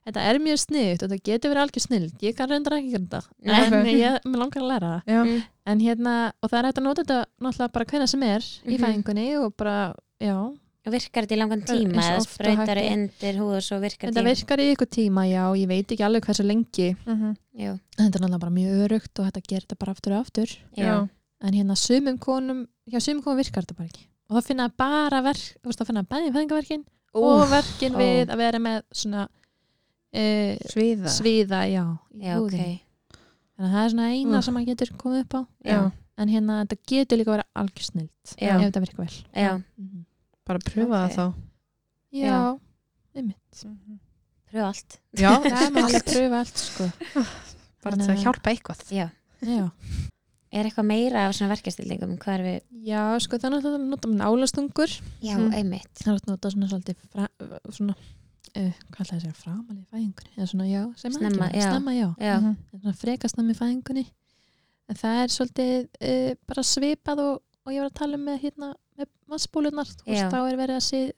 þetta er mjög sniðut og það getur verið algjör sniðut, ég kann reyndar ekki þetta
Nei.
en ég mér langar að læra það
Já.
Mm.
en hérna, og það er hægt að nota þetta náttúrulega bara hvenna sem er í
Mhm.
fæðingunni og bara, já,
og virkar þetta í langan
Það er
tíma
eins
eða
oft og hægt
sprautar
er.
undir húð og svo virkar
þetta
þetta í-
virkar í ykkur tíma já, ég veit ekki alveg hversu lengi
Mhm.
já,
en þetta er náttúrulega bara mjög örugt og þetta gerir þetta bara aftur og aftur
já,
Já.
en hérna sumum konum, já sumum konum virkar þetta bara ekki og það finna bara verk, þú veist það finna bæði fæðingaverkin og verkin
ó.
við að vera með svona uh,
Sviða.
sviða, já, í
já, ok
húðinni. þannig að það er svona eina
Úff.
sem maður getur komið upp á
já,
en hérna þetta getur líka að vera algjör snilt
Já.
ef þetta virkar vel
já,
Mhm.
Bara pröfa
Ok.
það þá. Mhm.
já,
Já.
einmitt
pröfa allt
Já,
það er maður alveg að pröfa allt sko
bara til að hjálpa eitthvað.
já,
já,
er eitthvað meira af svona verkastildingum hvað er við, Hm.
já sko það er náttúrulega að nota með nálastungur
já,
Mhm.
einmitt
það er að nota svona svolítið fra, svona, uh, hvað ætlaði að segja framalið fæðingunni eða svona já, sem
Snemma, já.
snemma já.
já,
Mhm.
En svona frekast það með fæðingunni en það er svolítið uh, bara svipað og, og ég var að tala um með hérna með vassbúlunar þú
Já.
veist þá er verið að sé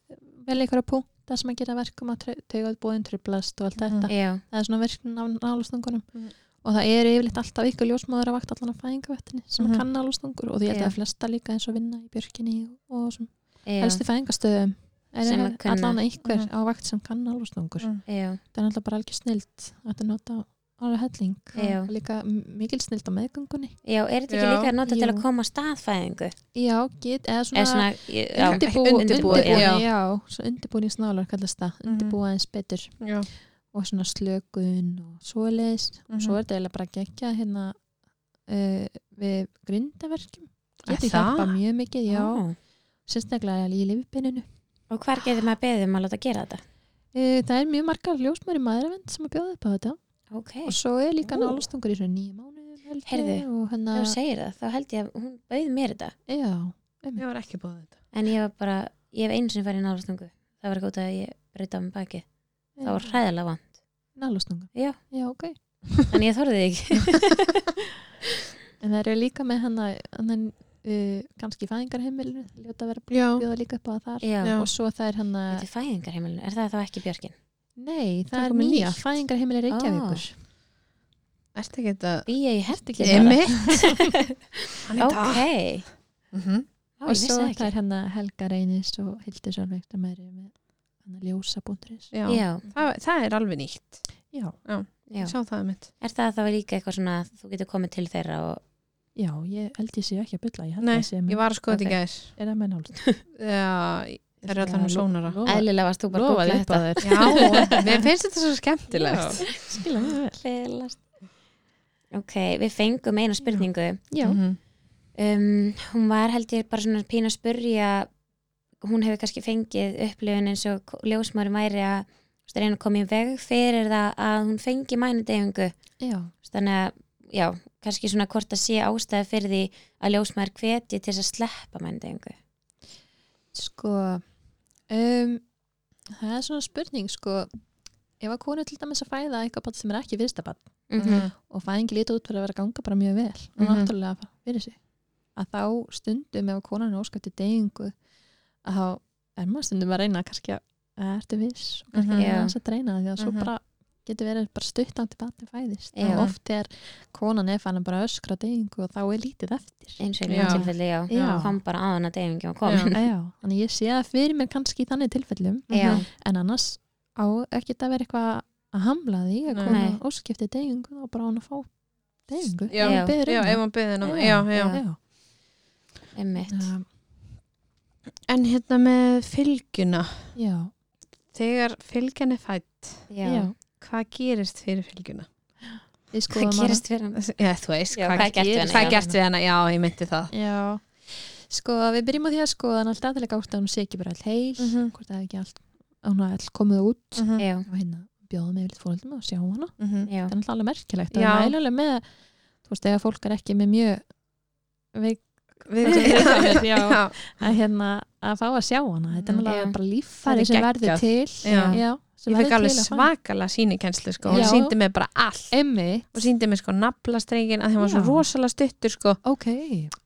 vel einhverja punkta sem að gera verkum að taugaðbúðin triplast og allt
Mhm.
þetta
já,
það er svona verkun af nálastungunum
Mhm.
og það eru yfirleitt alltaf ykkur ljósmáður að vakta allan á fæðingavettinni sem
Mhm.
kann nálstungur og því held
Já.
að það flesta líka eins og vinna í björkinni og sem
já,
helstu fæðingastöðum er
Sem að kunna.
allan ykkur
Mhm.
á vakt sem kann nálastungur
Mhm.
já,
það er náttúrulega bara algjör snilt að þetta nota ára helling
Já.
og líka m- mikil snilt á meðgöngunni
já, er þetta ekki
Já.
líka að nota til
Jú.
að koma staðfæðingu
já, get, eða svona,
eða svona, já,
undirbú,
undirbúa,
undirbúin
já.
já. svo undirbúin í snálar kallast það,
Mhm.
undirbúa eins betur
Mm. Já.
og svona slökun og svoleiðis
Mhm.
svo er þetta eiginlega bara gegja hérna uh, við grindaverkjum
Er
getur
það?
hjálpa mjög mikið, já
Ó.
sérstaklega í lifibininu
og hvar getur maður beðið um að láta gera þetta
uh, það er mjög margar ljósmæri maðuravend sem að bjóða upp á þetta
ok,
og svo er líka
Ú.
nálastungur í svona nýju mánuðum held ég,
Heyrðu,
og
ef
hérna,
þú segir það, þá held ég að hún bauð mér þetta
já
Ég var ekki búið þetta.
en ég var bara, ég hef einu sinni farið í nálastungu það var ekki út af að ég braut á mig baki það var hræðilega vant
Nálastunga?
Já.
Já, ok.
en ég þorði því ekki
En það eru líka með hann að uh, kannski fæðingarheimilinu ljóta að vera
já,
að bjóða líka upp á það þar
Já,
Já.
já.
og svo það er hann að
Þetta er fæðingarheimilinu, er það þá ekki Björkin?
nei, það
Það er
er
komið
nýja,
nýtt.
fæðingarheimili Reykjavíkur oh.
ertu ekki þetta
Býja í hertekir
hann
Ok,
það mm -hmm.
Ó,
og
ég vissi
svo
það
það
ekki
er hann að Helga Reynis og Hildur Sölveig sem er með hann að ljósa búndurins
já.
Já,
Það, það er alveg nýtt
já,
já
ég sá það mitt
Er það þá líka eitthvað svona að þú getur komið til þeirra og
já, ég held ég sé ekki að bylla ég held
Nei,
að sé
ég
með,
var að skoða þetta í
Ok.
gær
er það með nálst
Mhm. já, það eru allan um sónara
eðlilega varst þú bara að
lofaði
googla
upp á
þetta
þeir
já, mér finnst þetta svo skemmtilegt
skilja mig vel
Hlelast. Ok, við fengum eina spurningu
já,
Mhm.
um, hún var held ég bara svona pín að spurja hún hefur kannski fengið upplifun eins og ko- ljósmaðurinn væri að þú veist, reyna að koma í veg fyrir það að hún fengi mænudegingu
já,
þannig að, já, kannski svona hvort að sé ástæða fyrir því að ljósmaður hveti til þess að sleppa mænudegingu
sko um, það er svona spurning sko ef að konu er til dæmis að fæða eitthvað barn sem er ekki viðstabann
mm
Mhm.
og fæðingi lítið út fyrir að vera að ganga bara mjög vel og
Mhm.
náttúrulega fyrir sig að þá stundum ef konan er óskætti deyingu að þá er maður stundum að reyna kannski að að ertu viss og kannski
Mhm.
yeah. að reyna því að svo
Mhm.
bara getur verið bara stuttandi batni fæðist
Já.
og oft er konan er fann að bara öskra deyingu og þá er lítið eftir
eins og í
Já.
mjög tilfelli, já,
Já.
kom bara á hana degingu og kom
Já.
já.
Að Já, þannig ég sé að fyrir mér kannski í þannig tilfellum
Já.
Mhm.
en annars á ekki að vera eitthvað að hamla því að
Nei.
kona
Nei.
óskipti deyingu og bara á hún að fá deyingu
já,
Já.
Biður um
já,
það.
ef maður byrðin
Já,
já, já
já.
einmitt
Já,
En hérna með fylgjuna,
já,
þegar fylgjan er fætt,
já.
já.
hvað gerist fyrir fylgjuna?
Við skoðum
hvað
hana.
gerist fyrir hann?
Já, þú veist,
Já, hvað er gert við hana,
gerist- hvað
já.
er gert við hana? Já, ég myndi það.
Já, sko við byrjum á því að skoða hann alltaf aðlega átt að hún sé ekki bara all heil
Mhm.
hvort það er ekki allt, að hún er all komið út
já,
og hérna bjóðum með yfirleitt fóröldum og sjá hana
Mhm. já,
það er alltaf alveg merkilegt
Já.
og það er alveg með, þú veist, ef fólk er ekki með mjög veik
Við-
Já.
Já.
að, hérna, að fá að sjá hana þetta er náttúrulega
Mm, Já.
bara
Það
líffæri
er
sem
geggjað.
verður til
Já.
sem
Ég fekk
verður
alveg
til að fá.
svakala sínikenslu, sko. Hún
Já.
síndi mig bara allt.
Einmitt.
Hún síndi mig, sko, naflastreikin, að það var svo
Já.
rosalega stuttur, sko.
ok,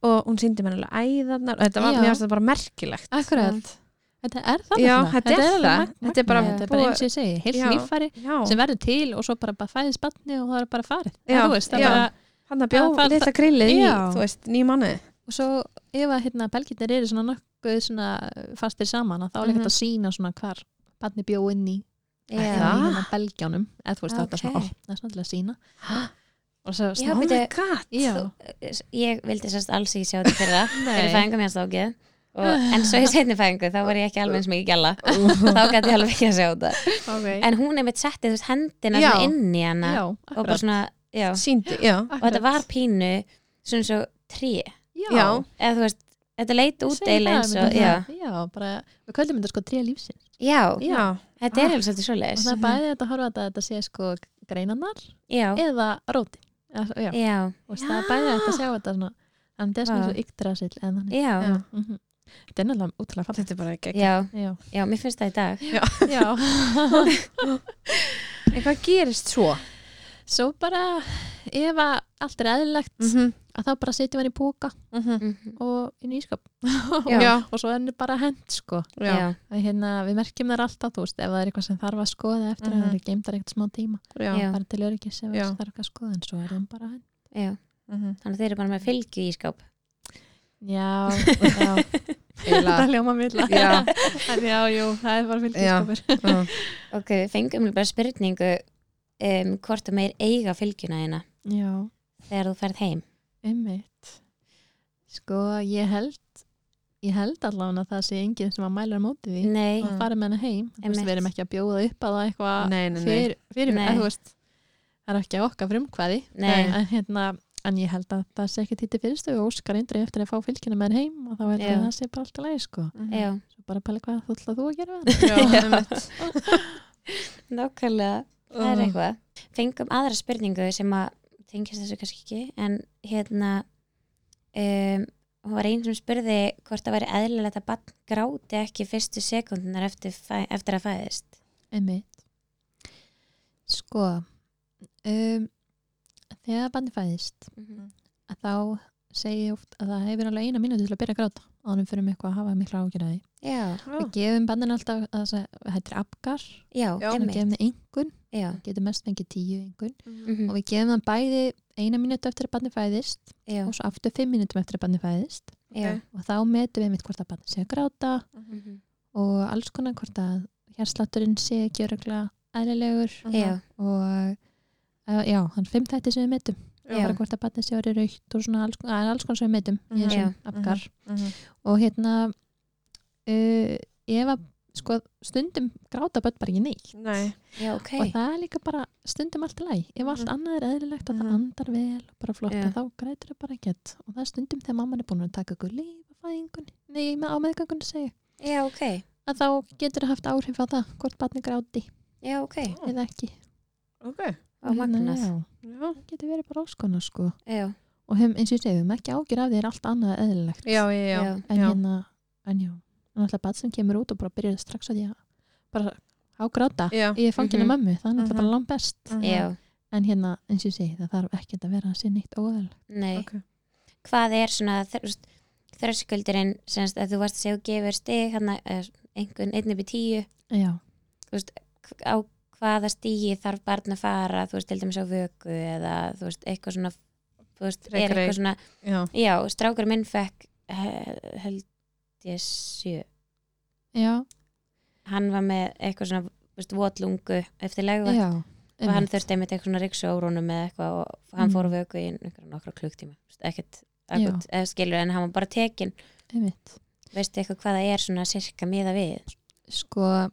Og hún síndi mig alveg æðarnar. og Þetta var,
Já.
mér varst þetta bara merkilegt.
akkurat þetta er það
Já,
náttúrulega.
þetta er
alveg
það.
mag-
Þetta er bara
magnað. þetta er bara
búið-
eins og ég segi, heilt
Já.
líffæri
Já,
sem verður til og svo bara, bara fæðist batni og það er bara farið
Já,
Þú veist, það
já.
bara,
hann að
Það-
bjó
það-
litla grillið í,
Já.
þú veist, nýjum manni.
og svo ef að hérna, belgirnir eru svona nokkuð svona fastir saman að þá er
Mhm.
ekkert að sína svona hvar batni bjó inn í,
já.
inn í hérna belgjónum eða þú veist
Já,
þetta er svona, ó,
ok.
það er svona til að sína
Ha?
og svo
Já,
Oh my
byrju.
god.
já,
Þú- ég vildi sérst alls ekki sjá þetta fyrir það fyrir fæðingum ég stókið og, en svo í setni fæðingu þá var ég ekki alveg eins mikið gæla þá gæti ég alveg ekki að sjá þetta
okay.
en hún einmitt setti þú veist hendina
Já.
svona inn í hana
já,
og bara svona, já
Síndi, já.
og þetta var pínu svona svo trí
já,
Já.
eða þú veist, þetta leit út
Segir
eiginlega eins
það,
og,
myndi
já,
um það. já, bara, við kvöldum þetta sko tré lífsins
já,
Já.
þetta
Ah.
er alveg svolítið
og
svoleiðis
það er bæði þetta að horfa á þetta að þetta sé sko greinarnar
já,
eða rótin Eða- já,
já,
og það er bæði þetta að sjá þetta svona en það er svona
Vá.
svo yggdrasil en þannig
já
Já.
mm þetta er náttúrulega útrúlega fallið
Þetta er bara ekki
já,
já,
já, mér finnst það í dag
já.
En hvað gerist svo?
svo bara ef að allt er eðlilegt
Mm.
-hmm.
að þá bara setjum hann í póka
Mm -hmm.
Mhm.
og inn í ískap
Já.
Já.
og svo er hann bara hend sko
Já.
já,
að hérna, við merkjum þar alltaf þú veist, ef það er eitthvað sem þarf að skoða eftir
Mhm.
að það eru geimdar eitthvað smá tíma
Já.
Já.
bara til öryggis ef
Já.
það þarf að skoða en svo er hann bara hend
já
Mhm.
þannig að þeir eru bara með fylgju í skáp
Já, já, þetta ljóma milla
Já.
En já, jú, það er bara sko fylgiskapur
Já.
ok, við fengum bara spurningu um, hvort að meir eiga fylgjuna hérna
Já,
þegar þú ferð heim
einmitt Sko, ég held ég held allavega að það sé enginn sem að mæla á móti því
Nei,
og fara með hana heim Þú veist,
Einmitt.
Við erum ekki að bjóða upp að það eitthvað
Nei, nei, nei.
fyrir, fyrir
Nei.
En, þú veist, það er ekki að okkar frumkvæði
Nei.
en, hérna, en ég held að það sé ekki títi fyrirstu og óskar eindri eftir að fá fylgina með hann heim og þá held ég
Já.
að það sé bara alltaf leið sko.
já,
Svo bara pæla hvað þú ætla þú að gera við
Já, einmitt.
nákvæmlega það er eitthvað fengum aðra spurningu sem að tengjast þessu kannski ekki en hérna um, hún var einn sem spurði hvort það væri eðlilegt að bann gráti ekki fyrstu sekundunar eftir, fæ, eftir að fæðist
Einmitt. Sko, um, þegar bandi fæðist, að þá segi oft að það hefur alveg eina mínúti til að byrja að gráta ánum fyrir mig eitthvað að hafa mikla ágjörði
já,
við gefum bannin alltaf að það hættir afgar
já,
Já,
við
einmitt
gefum það einhvern,
já,
getur mest fengið tíu einhvern
mhm,
og við gefum það bæði eina mínúti eftir að bannin fæðist
já,
og svo aftur fimm mínútum eftir að bannin fæðist
já
ok.
og þá metum við mitt hvort að bannin sé að gráta
mhm,
og alls konar hvort að hérslátturinn sé ekki öruglega eðlilegur
já,
og uh, já, þannig fimm þætti sem við metum
Já.
bara hvort að batni sé orðið raukt og svona alls, að, alls konar sem við metum í
Mhm.
þessum
Já.
apgar og hérna uh, ef að sko, stundum gráta börn bara ekki neitt
Nei,
já, ok
og það er líka bara stundum allt í læg ef allt
Mhm.
annað er eðlilegt og
Mhm.
það andar vel og bara flott
Já.
að þá grætur það bara ekkert og það er stundum þegar mamman er búin að taka ykkur líf á fæðingunni, nei, með- á meðgangunni segja
já, ok,
að þá getur það haft áhrif á það hvort batni gráti
já, ok
eða ekki
ok
og magnað,
Hérna, Já,
Já,
það getur verið bara áskona sko
já,
og hefum, eins og ég segi, við höfum ekki ágjur af því er allt annað eðlilegt
já, já, já.
já
en
já.
hérna, en já en alltaf bat sem kemur út og bara byrjar strax að ég bara ágráta
já.
ég er fanginu
Mhm.
mömmu, það er
Mhm.
alltaf bara langt best
já,
en hérna, eins og ég segi, það þarf ekki að vera að sé neitt óæðil
nei
Ok.
hvað er svona þröskuldurinn semst að þú varst að segja og gefur stig hann að einhvern einn upp í tíu
já,
k- á hvaða stígi þarf barn að fara þú veist til dæmis á vöku eða þú veist eitthvað svona þú veist, er
Frekari.
eitthvað svona,
Já,
já, strákur minn fekk he- held ég sjö
já,
hann var með eitthvað svona þú veist, votlungu eftir
já,
legvakt
já
og hann þurfti einmitt eitthvað svona ríksjórónum eða eitthvað og hann
Mm.
fór á vöku í einhverja nokkra klukktíma þú veist, ekkert, ekkert eða skilur en hann var bara tekin
einmitt
veistu eitthvað hvað það er svona sirka miða við
sko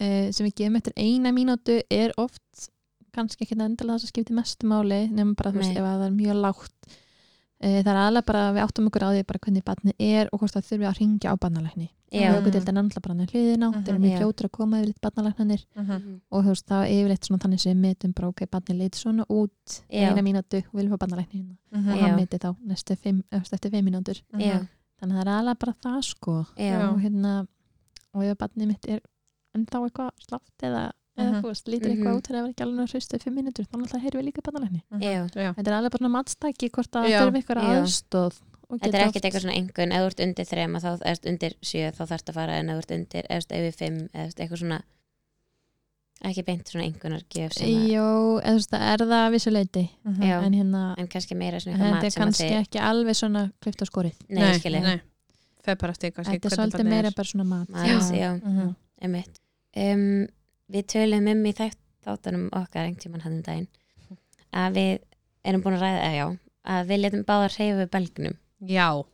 uh, sem við gefum eftir eina mínútu er oft kannski ekki endilega það sem skiptir mestu máli nema bara þú veist
Nei.
ef að það er mjög lágt uh, það er aðlega bara að við áttum okkur á því bara hvernig barnið er og hvort það þurfi að ringja á barnalækni
já,
Mhm.
okkur til þetta náttúrulega bara hann hliðina
Mhm.
þeir eru mjög
Já.
fljótur að koma yfir litt barnalæknanir
Mhm.
Mhm.
og þú veist það er yfirleitt svona þannig sem við metum bara ok, barnið leit svona út
Já.
eina mínútu og viljum fá barnalækni hérna
Mhm.
og
Já.
hann meti þá næstu fimm, eftir, eftir fimm mínútur
já,
þannig að það er aðlega bara það sko
já,
Já.
og hérna og ef barnið mitt er ennþá eitthvað slaft eða,
Mhm.
eða þú veist, lítur
Mhm.
eitthvað út þegar það var ekki alveg að hristu fimm mínútur, þannig að heyrum við líka bannalækni
já.
Já,
þetta er alveg bara svona matstæki hvort að
Já,
það þurfum eitthvað
já.
aðstóð
Þetta er ekkert eitthvað svona engun, ef þú ert undir þrema þá ert undir sjö, þá þarfst að fara en ef þú ert undir, ef þú ert yfir fimm, ef þú ert eitthvað svona ekki beint svona engunar gef sem að,
Jó, eða þú veist, það er það að vissu leiti
Mhm.
já,
en hérna,
en kannski meira svona
en
eitthvað
þetta
mat
er
sem að
kannski
þið,
ekki alveg svona klift á skorið,
nei, nei skilja,
nei. Fer bara eftir kannski
þetta er
hvernig
svolítið
barnið
meira
er.
bara svona mat
maður, já,
Mhm.
einmitt. Um, við tölum um í þætt, þáttanum okkar einhvern tímann hann um daginn, að við erum búin að ræða, eða já, að við letum báða hreyfa við belgnum,
Já,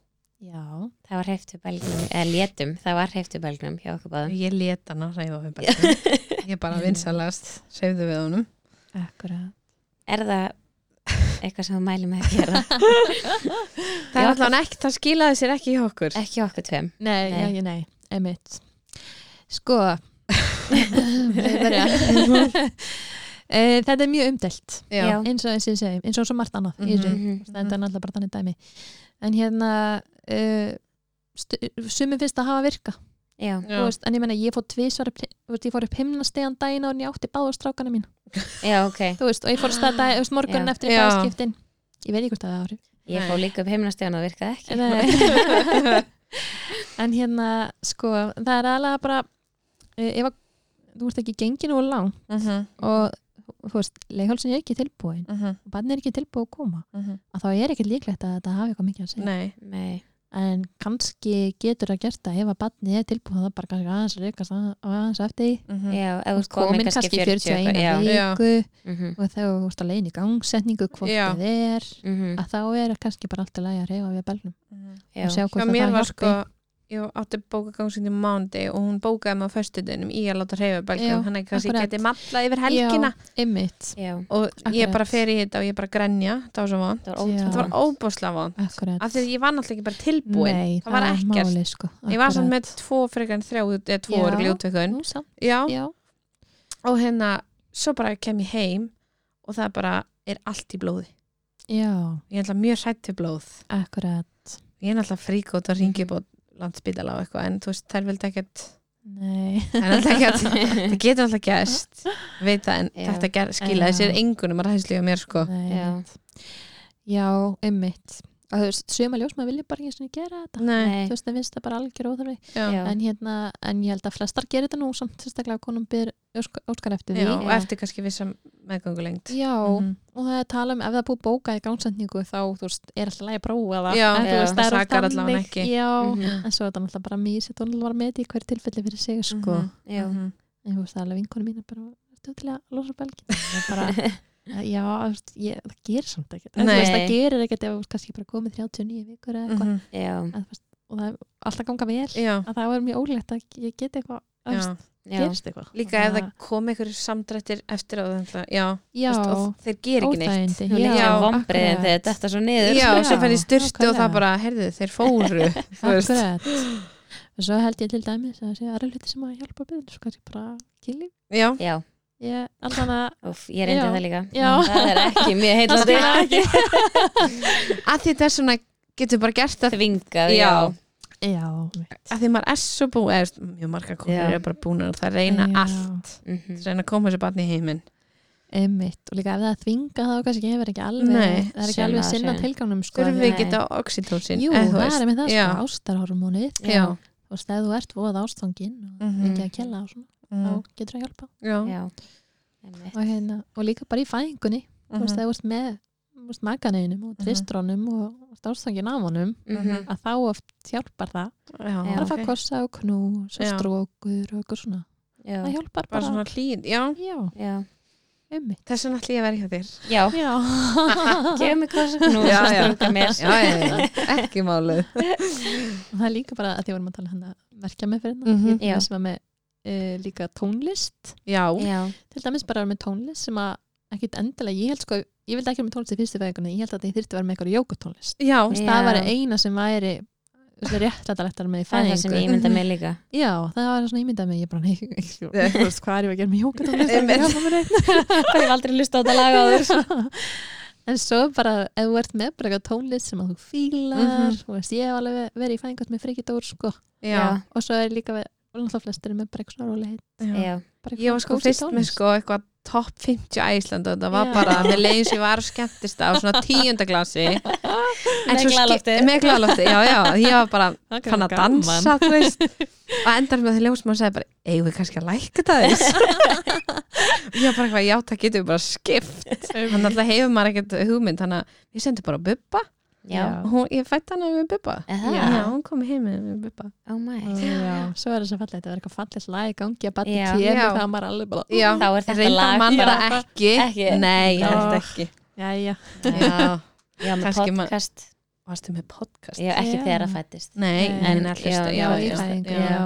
Já,
það var hreyft við belgnum, eða letum, það var hreyft við belgnum hjá okkur báðum.
ég let hana reyfa við bættum. Ég bara vinsalast, reyfðu við honum.
akkurat
Er það eitthvað sem þú mælum með að gera?
Það er alltaf ekki, það skilaði sér ekki í okkur.
Ekki okkur tveim.
Nei,
Nei.
nei. Já, nei, emitt Sko ég byrja. Eh, Þetta er mjög umdelt
Já.
eins og eins og ég segi, eins og svo margt annað mm -hmm.
Mhm.
þetta er náttúrulega bara þannig dæmi en hérna uh, sumum finnst að hafa virka
Já,
Já.
þú veist, en ég meina ég fór tvisvar upp, þú veist, ég fór upp himnastegan daginn og ég átti báður strákana mín
já, ok.
þú veist, og ég fór stæða morgun
Ah, Já.
eftir
Já.
bæðskiptin ég veit ekki hvort það ári
Ég
Nei.
fó líka upp heimnastegun og það virkaði ekki.
en hérna, sko, það er alveg bara eh, ef að þú ert ekki gengin og lang
Mhm,
og þú veist, leghálsin er ekki tilbúin
mhm,
og barn er ekki tilbúið að koma
mhm.
að þá er ekki líklegt að þetta hafi eitthvað mikið að segja
Nei,
Nei,
en kannski getur það gert að ef að barnið er tilbúið það bara kannski aðeins reykast að- aðeins eftir því.
mhm,
já, ef þú
Og
ert komin kannski 40
41
eitthvað,
Já.
viku
Já, mhm,
og þá þú ert að leiðin í gangsetningu hvort
Já.
það er
mhm,
að þá er kannski bara allt í lagi að reyfa við belnum
mhm.
já,
og Ah, sjá hvort
Hjá
að það
mér var
hjálpi
sko, ég átti bókagangsinni mándi og hún bókaði mig á föstudeginum í að láta reyfa
Já,
bælgum, hann er kannski
akkurat.
getið malla yfir helgina
Já, einmitt,
já,
og ég
akkurat.
bara fer í þetta og ég bara grenja, það var svo vant.
það var
Já.
ótrúlega.
Þetta var óbúslega vant,
akkurat
af því að ég var náttúrulega ekki bara tilbúin,
Nei,
það var ekkert.
málið, sko,
Ég var samt
akkurat.
með tvo frekar en þrjá, eða tvo
Já.
eru gljótveikun.
Nú, samt,
Já,
já,
og hérna, svo bara kem ég heim og það bara er allt í blóði.
já,
Ég er alltaf mjög hrætt við blóð.
akkurat
Ég er alltaf fríkótt að ringi upp á landsbytala og eitthvað, en þú veist, þær vildi ekkert,
Nei,
það er alltaf ekkert, það getur alltaf gæst, veit það, en
Já.
þetta ger, skilaði
Já.
sér engunum að ræðslu á mér, sko.
nei
Já.
já, einmitt að þú veist, sögum að ljós maður vilja bara ekki einu sinni gera þetta
Nei.
Nei,
þú veist, það finnst það bara algjör óþarfi
Já.
Já.
en, hérna, en ég held að flestar gerir þetta nú samt, sérstaklega að konum byr óskar eftir því
Já, og
Já.
eftir kannski vissam meðgöngulengt.
Já,
Mhm.
og það er tala um ef það er búið bókað í gangsendingu þá þú veist, er alltaf lægi að prófa það
Já,
en, þú
já,
veist,
það
það er oft
sakar allavega
þannig.
ekki.
Já,
Mhm.
en svo er þetta náttúrulega bara mýr sér tónlega var með í hverju tilfelli fyrir sig sko
já,
Mhm.
en þú veist, það er alveg vinkunum mín bara, þú til að losa belgin bara, eh, já, þú veist, ég, það gerir samt ekkert En þú veist,
Nei.
það gerir ekkert ef þú veist, kannski bara komið 39 vikur eða eitthvað
Mhm.
já,
að þú veist, og það er alltaf ganga vel
Já,
að það var mjög ólegt að ég geti eitthvað
já.
að þú veist,
já,
gerist eitthvað
Líka ef það kom einhverjir samdrættir eftir á þetta, já,
já,
veist, og þeir ger ekki neitt.
óþægindi,
Hún líka
Já,
vombriðin
akkurat.
þegar þetta er svo niður
Já,
Já,
sem fær í styrtu og það
nákvæmlega.
bara, heyrðu, þeir fóru. þú veist.
akkurat og svo held ég til dæmis að það sé aðra hluti sem að hjálpa byrðin svo kannski bara kili
Já,
Já,
ég, allan að
úf, ég reyndi
Já.
það líka
Já.
Það er ekki mjög
Það
heillandi
skilar ekki.
að því þess vegna getur bara gert það
Þvingað,
Já.
já,
já, mitt.
að því maður er svo búin, eða þú veist, mjög marga
Já.
konur eru bara búin að það reyna
Já.
allt,
Mhm.
reyna að koma þessu barni í heiminn.
Einmitt. og líka ef það er þvinga þá kannski hefur ekki alveg
Nei,
það er ekki alveg
sinna
að sinna
þessu.
tilganum sko,
Þurfum
því
við
að-
ekki þetta oxytocin?
jú,
eða Eh, þú
það
veist.
er með það
Já.
sko, ástarhormónið
Já.
og stæð þú ert voða ástfangin og
Mhm.
ekki að kella og svona, þá
Mhm.
getur það hjálpa
Já.
já Einmitt.
og, hérna, og líka bara í fæðingunni þú
Mhm.
veist, þegar þú ert með þú veist, makaneginum og
Mhm.
tristrónum og ástangin af honum
Mhm.
að þá oft hjálpar það
Já,
Já.
bara
ok.
að fá kossa og knús og
Já.
strókur og eitthvað svona
Já,
það
Bara
hjálpar bara,
svona hlýn, já.
já,
já,
ummi
Þess vegna ætlum ég að vera hjá þér.
já
já,
Gefum mig kosa knús
Já,
og
já.
strunga mér
já, ekki málið.
og það er líka bara að því vorum að tala hann að verkja með fyrir
Mhm.
hérna
Já.
ég sem var með e, líka tónlist
Já,
Já,
til dæmis bara að vera með tónlist sem að ekkit endilega, ég held sko ég vildi ekki vera með tónlist í fyrstu veikuna, ég held að ég þyrfti að vera með eitthvað jókutónlist,
já,
Þú veist,
Já.
það var eina sem væri réttlættalegt að vera með í
það er það sem
fæðingu
ég ímynda mig líka
Já, það var svona ímyndað mig, ég bara, nei, sko. þú veist, hvað er ég að gera með
Einmitt.
jókatónlist?
Hvað ég hef aldrei lust á þetta lag áður
en svo bara, ef þú ert með bara eitthvað tónlist sem að þú fílar,
Mhm.
þú veist, ég hef alveg verið í fæðingat með Friki Dór, sko,
já.
og svo er líka, við- og náttúrulega flestir eru með bara eitthvað svona rólegheit.
já.
já,
bara
Ég var
eitthvað
sko
kósí
fyrst með
tónlist.
sko eitthvað topp 50 á Ísland og það var
Já.
bara með leiðis ég var skemmtist á svona tíundaglasi
Með glálofti.
Með glalófti, já, já, ég var bara
Það
fann að dansa, þú veist og endar með því ljósmann sagði bara eigum við kannski að lækka það þess ég var bara eitthvað, já, það getur við bara skipt hann alltaf hefur maður ekkert hugmynd þannig að ég sendi bara á Bubba
já,
og hún, ég fætti hann með Bubba
Aha.
já, hún kom heim með með Bubba
oh my
Já, svo er það svo fallegt, það er eitthvað fallegt lag í gangi að batni
Já.
kemur,
Já.
það var alveg bara,
já,
Þá er þetta
reyndar
lag
mann
já.
bara ekki,
Ekki.
nei,
Já.
ég held ekki
jæja,
já,
Já, með
Kannski ma-
podcast
varstu með podcast
Já, ekki
Já.
þegar það fættist
Nei,
Nei.
en alltaf
Já,
já,
já,
í
já,
fæðingu,
já.
já.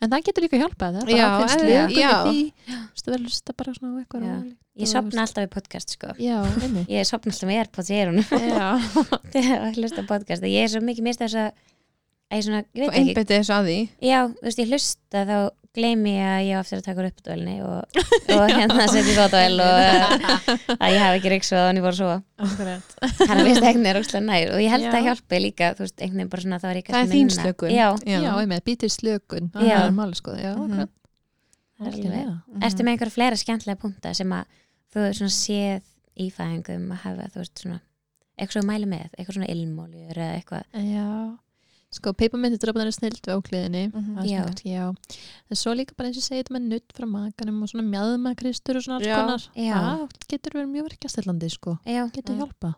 En það getur líka hjálpað, það er
Já,
bara ákveðin
eðlilega.
slökun í
Já.
því. Þú veist, það verður að hlusta bara svona á eitthvað
Já.
rólegt.
Ég sopna alltaf í podcast sko
Já, einmitt.
Ég sopna alltaf með AirPods í erunum
Já,
þegar ég hlusta á podcast Ég er svo mikið mist þess að að ég svona, ég
og
veit ekki
einbytti þessu að því
Já, þú veist, ég hlusta þá gleymi ég að ég á eftir að taka upp dólinni og, og hérna setja í fótavel og eh, að ég hafi ekki reyksvað þannig ég voru svo
akkurat.
hann að vist eitthvað er óslega nær og ég held
Já.
að það hjálpi líka, þú veist, einhvern veginn bara svona það var ég
það er
kannski
þín
minna.
slökun
Já,
Já, einmitt, býtir slökun,
Já.
það er máli sko, já,
Mhm.
akkurat.
Það er
Algjörlega.
ertu með einhverja fleira skemmtilega punta sem að þú hefur svona séð í fæðingum að hafa, þú veist, svona eitthvað sem þú mæli með, eitthvað svona ilmóljur eða eitthvað,
Já, sko, peiparmyndi dröfnarnir snild við ákliðinni.
Mhm.
Það er svona
Já.
kannski, Já. En svo líka bara eins og ég segi þetta með nutt frá makanum og svona mjadmakristur og svona alls
Já.
konar.
Já.
Það getur verið mjög verkjastillandi, sko.
já,
Getur
Já.
hjálpa.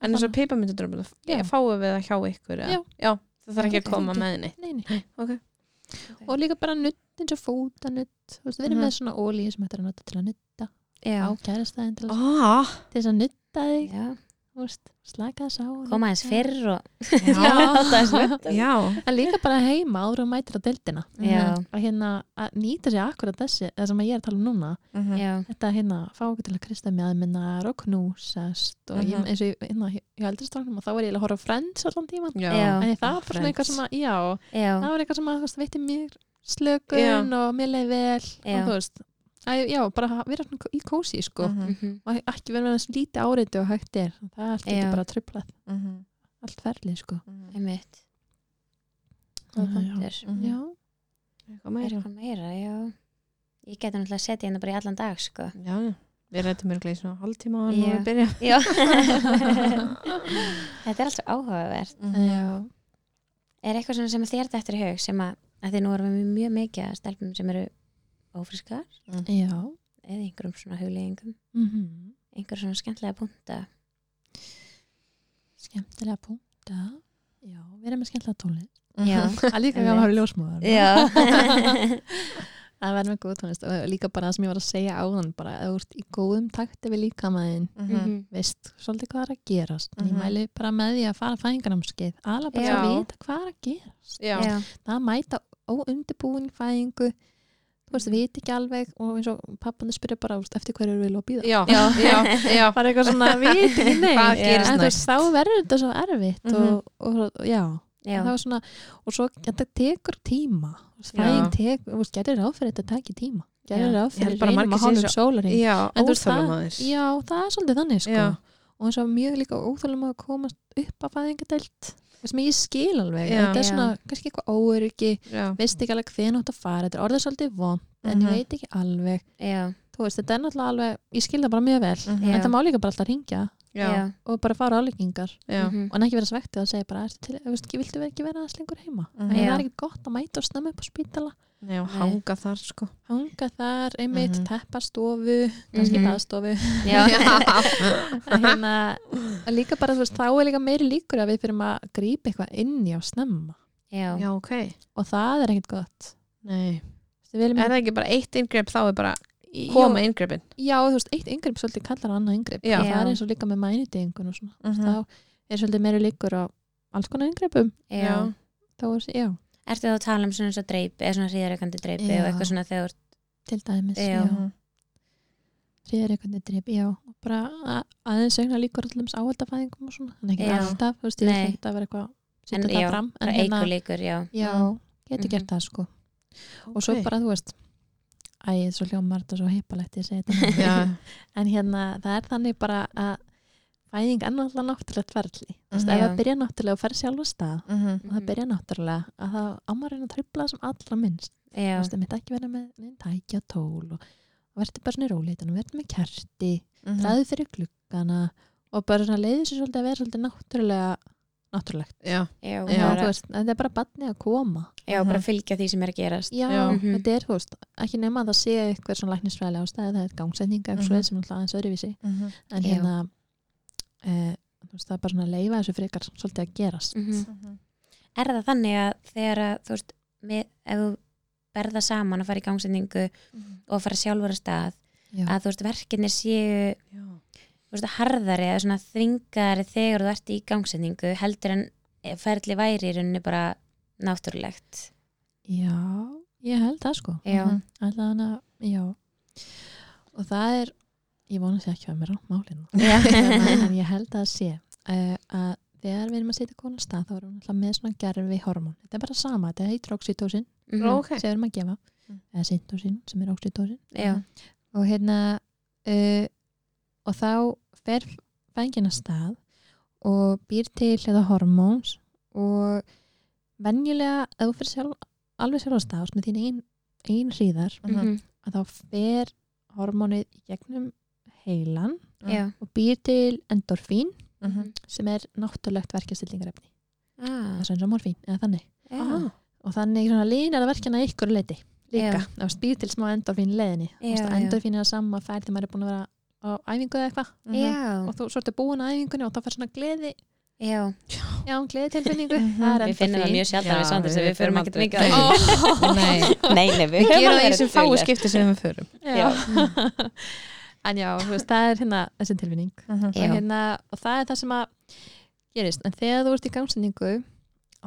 en eins og pipamyndudröfum
Já.
fáum við það hjá ykkur eða?
Já.
já það þarf ekki að
Þetta
koma
fylgir.
með henni
Nei, nei.
ok.
og líka bara nutt eins og fótanutt þú veist, við erum
Mhm.
með svona ólíu sem hættir að nota til að nutta
já,
á kærastæðin til, oh.
Ah,
til þess að nutta þig
já,
þú veist, slaka þess á og
koma aðeins
nudda.
fyrr og
já,
aðeins nödd
já.
en líka bara heima áður og mætir að deildina
Já.
Mhm. að hérna að nýta sér akkurat þessi það sem ég er að tala um núna
Mhm.
Já,
þetta að hérna, fá okkur til að kristja með aðminnar og knúsast og ég,
Mhm.
eins og ég, hérna, ég aldrei stráknum og þá var ég eiginlega að horfa á frends allan tíman
já,
Já.
en það var bara svona
Friends.
eitthvað sem að, já,
já,
það var eitthvað sem að þú veist, veitti mér slökun og mér leiði vel
Já.
og þú veist að, já, bara að vera svona í kósi sko.
Mhm.
mhm,
og ekki vera með þessu lítið áreiti og hægt er það er allt
Já.
ekki bara trublað,
Mhm.
allt ferlið sko.
Mhm.
einmitt Það er
Já, já.
punktur.
já,
Eitthvað meira.
Eitthvað meira, já Ég geti náttúrulega að setja hérna bara í allan dag, sko
já, já. Við rættum mjög gleið svona hálftíma og
Já.
við byrja.
Já. Þetta er alltaf áhugavert.
Mhm. Já.
Er eitthvað svona sem þér dættur í hug sem að, að því nú erum við mjög mikið að stelpum sem eru ófriskar
Já.
eða einhverjum svona hugleggingum,
Mhm.
einhverjum svona skemmtilega punta.
Skemmtilega punkta. Já, við erum með skemmtilega tónlist.
Já.
Að líka gaman að hafa ljósmóðar.
Já.
Að vera með góð tónlist og líka bara það sem ég var að segja áðan bara að þú ert í góðum takti við líkamæðin
Mhm.
veist svolítið hvað er að gerast en
Mhm.
ég mæli bara með því að fara fæðingarnámskeið aðla bara að
Já.
vita hvað er að gerast
Já.
Já.
það að mæta óundibúin fæðingu þú
Mhm.
veist, veit ekki alveg og eins og pappandi spyrir bara þú veist, eftir hverju eru við að býða
Já. Já. Já. Já.
bara eitthvað svona, veit ekki neitt
Hvað
Já.
gerist
en þú
næst?
veist, þá verður þetta svo erfitt
Mhm.
og, og, og já,
Já.
það var svona og svo þetta tekur tíma Þú veist,
Já.
fæðing tekur, þú veist, gerir ráð fyrir þetta taki tíma gerir
Já.
ráð
Ég held
fyrir
bara
reynum
margir
að
séu
hálfum sólarinn
Já.
En þú veist
Óþálum
það-
aðeins.
Já, það er svolítið þannig sko
Já.
og eins og mjög líka óþálum að komast upp að fæðingadelt það sem ég skil alveg,
Já.
þetta er
Já.
svona kannski eitthvað óöryggi,
Já.
veist ekki alveg hvernig átt að fara, þetta er orðið svolítið vond en
Mhm.
ég veit ekki alveg,
Já.
þú veist þetta er náttúrulega alveg, ég skil það bara mjög vel
Mhm.
Já.
en það má líka bara alltaf ringja
Já.
og bara fara álíkingar
Já.
Mhm.
og en ekki vera svektið að segja bara, "Ertu til, veist, ekki, viltu vera- ekki vera aðeins lengur heima
Mhm.
en það
Já.
er ekki gott að mæta og snemma upp á spítala
Já. Hanga þar sko.
hanga þar, einmitt,
Mhm.
teppa stofu kannski
Mhm.
baðstofu
Já.
að hérna, að líka bara þú veist, þá er líka meiri líkur að við fyrir að grípa eitthvað inn í á snemma
Já.
Já. Ok.
og það er ekkert gott
Nei.
Þú veist, við viljum,
Er það ekki bara eitt inngrip þá er bara
Jú.
koma inngripin.
já, þú veist, eitt yngrepp svolítið kallar á annað yngrepp
Já.
það
Já.
er eins og líka með mænidegingun og svona
Mhm.
þá er svolítið meiri líkur á alls konar yngreppum
Já.
þá er já,
Ertu þá að tala um svona eins og dreipi, eða svona hríðarökandi dreipi
Já.
og eitthvað svona þegar
til dæmis
Já.
Mhm.
þriðar eitthvað drep, já og bara að- aðeins augna líkur allums áhaldafæðingum og svona, en ekki
Já.
alltaf þú veist, ég
Nei.
vil þetta vera eitthvað setja
En
það
já,
fram, en
bara
hérna-
eigur líkur, já.
Já, getur
Mhm.
gert það sko og svo
Ok.
bara, þú veist æ, svo hljómar þetta svo heipalegt ég segi þetta núna.
Já.
en hérna, það er þannig bara að fæðing er náttúrulega náttúrulegt ferli Þú veist,
Mhm.
ef
Já.
það byrja náttúrulega og fer sjálf á stað
Mhm.
og það byrja náttúrulega að það ámarinn að tröfla sem allra minnst þú
Já.
veist, það mitt ekki vera með neinn tæki og tól og verður bara svona í róleitunum, verður með kerti
Mhm.
ræðu fyrir gluggana og bara svona leiði sér svolítið að vera svolítið náttúrulega náttúrulegt
Já.
Já,
Já. mhm.
bara-
þú veist, þetta er bara barni að koma
já, bara fylgja því sem er að gerast.
Já,
Já.
Mhm.
þetta er, þú veist, ekki nema að það sé eitthvað svona læknisfræðilega ástæði, það er gangsetninga eitthvað
Mhm.
mm sem er alltaf aðeins öðruvísi,
Mhm.
en
Já.
hérna e, þú veist, það er bara svona að leifa þessu frekar svolítið að gerast.
Mhm. Er það þannig að þegar að, þú veist, með, ef þú berða saman að fara í gangsetningu
Mhm.
og fara sjálfur að stað,
Já.
að þú veist, verkinir séu,
Já.
þú veist, harðari eða svona þringari þegar þú ert í gangsetningu heldur en ferli væri í rauninni bara náttúrulegt. Mhm.
já, ég held það sko
Já.
Mhm.
alltaf hana, já og það er, ég vona að sé ekki að mér á málinu,
Mhm.
Já.
en ég held að það sé e, að þegar við erum að setja konar stað þá erum við alltaf með svona gerfi hormón þetta er bara sama, þetta heitir oxytocin
Mhm.
Ok.
sem við erum að gefa
Mm.
eða syntocin sem er oxytocin
Já.
og hérna uh, og þá fer fængin að stað og býr til þetta hormóns og venjulega ef þú fyrir sjálf, alveg sjálf að stað með þín ein, ein hríðar
Mhm.
Mhm.
að þá fer hormónið í gegnum heilan
Já.
og býr til endorfín
Mhm.
sem er náttúrulegt verkjastillingarefni
Ah,
það er eins og morfín, eða þannig
Ah,
já.
og þannig svona línar að verkjana ykkur leiti líka,
Já.
það var spýr til smá endorfín leðinni
Já, já.
endorfín er það sama fær þegar maður er búin að vera á æfingu eða eitthvað
mhm.
Já.
og þú svo ertu búin að æfingunni og þá fær svona gleði
Já.
já, gleði tilfinningu,
Mhm.
það er
Við finnum það
endorfín
mjög sjaldan
Já,
við Sandra sem
við
við förum
förum
ekkert
aldrei.
mikið
Nei. Nei.
Nei, nei, við
Við
höfum
gerum
alveg
það í
verið
þessum fáu
dugleg.
skipti sem við förum.
Já.
en já, þú veist, það er hérna þessi tilfinning
Já.
Mhm.
og, hérna, og það er það sem að gerist en þegar þú ert í gangsetningu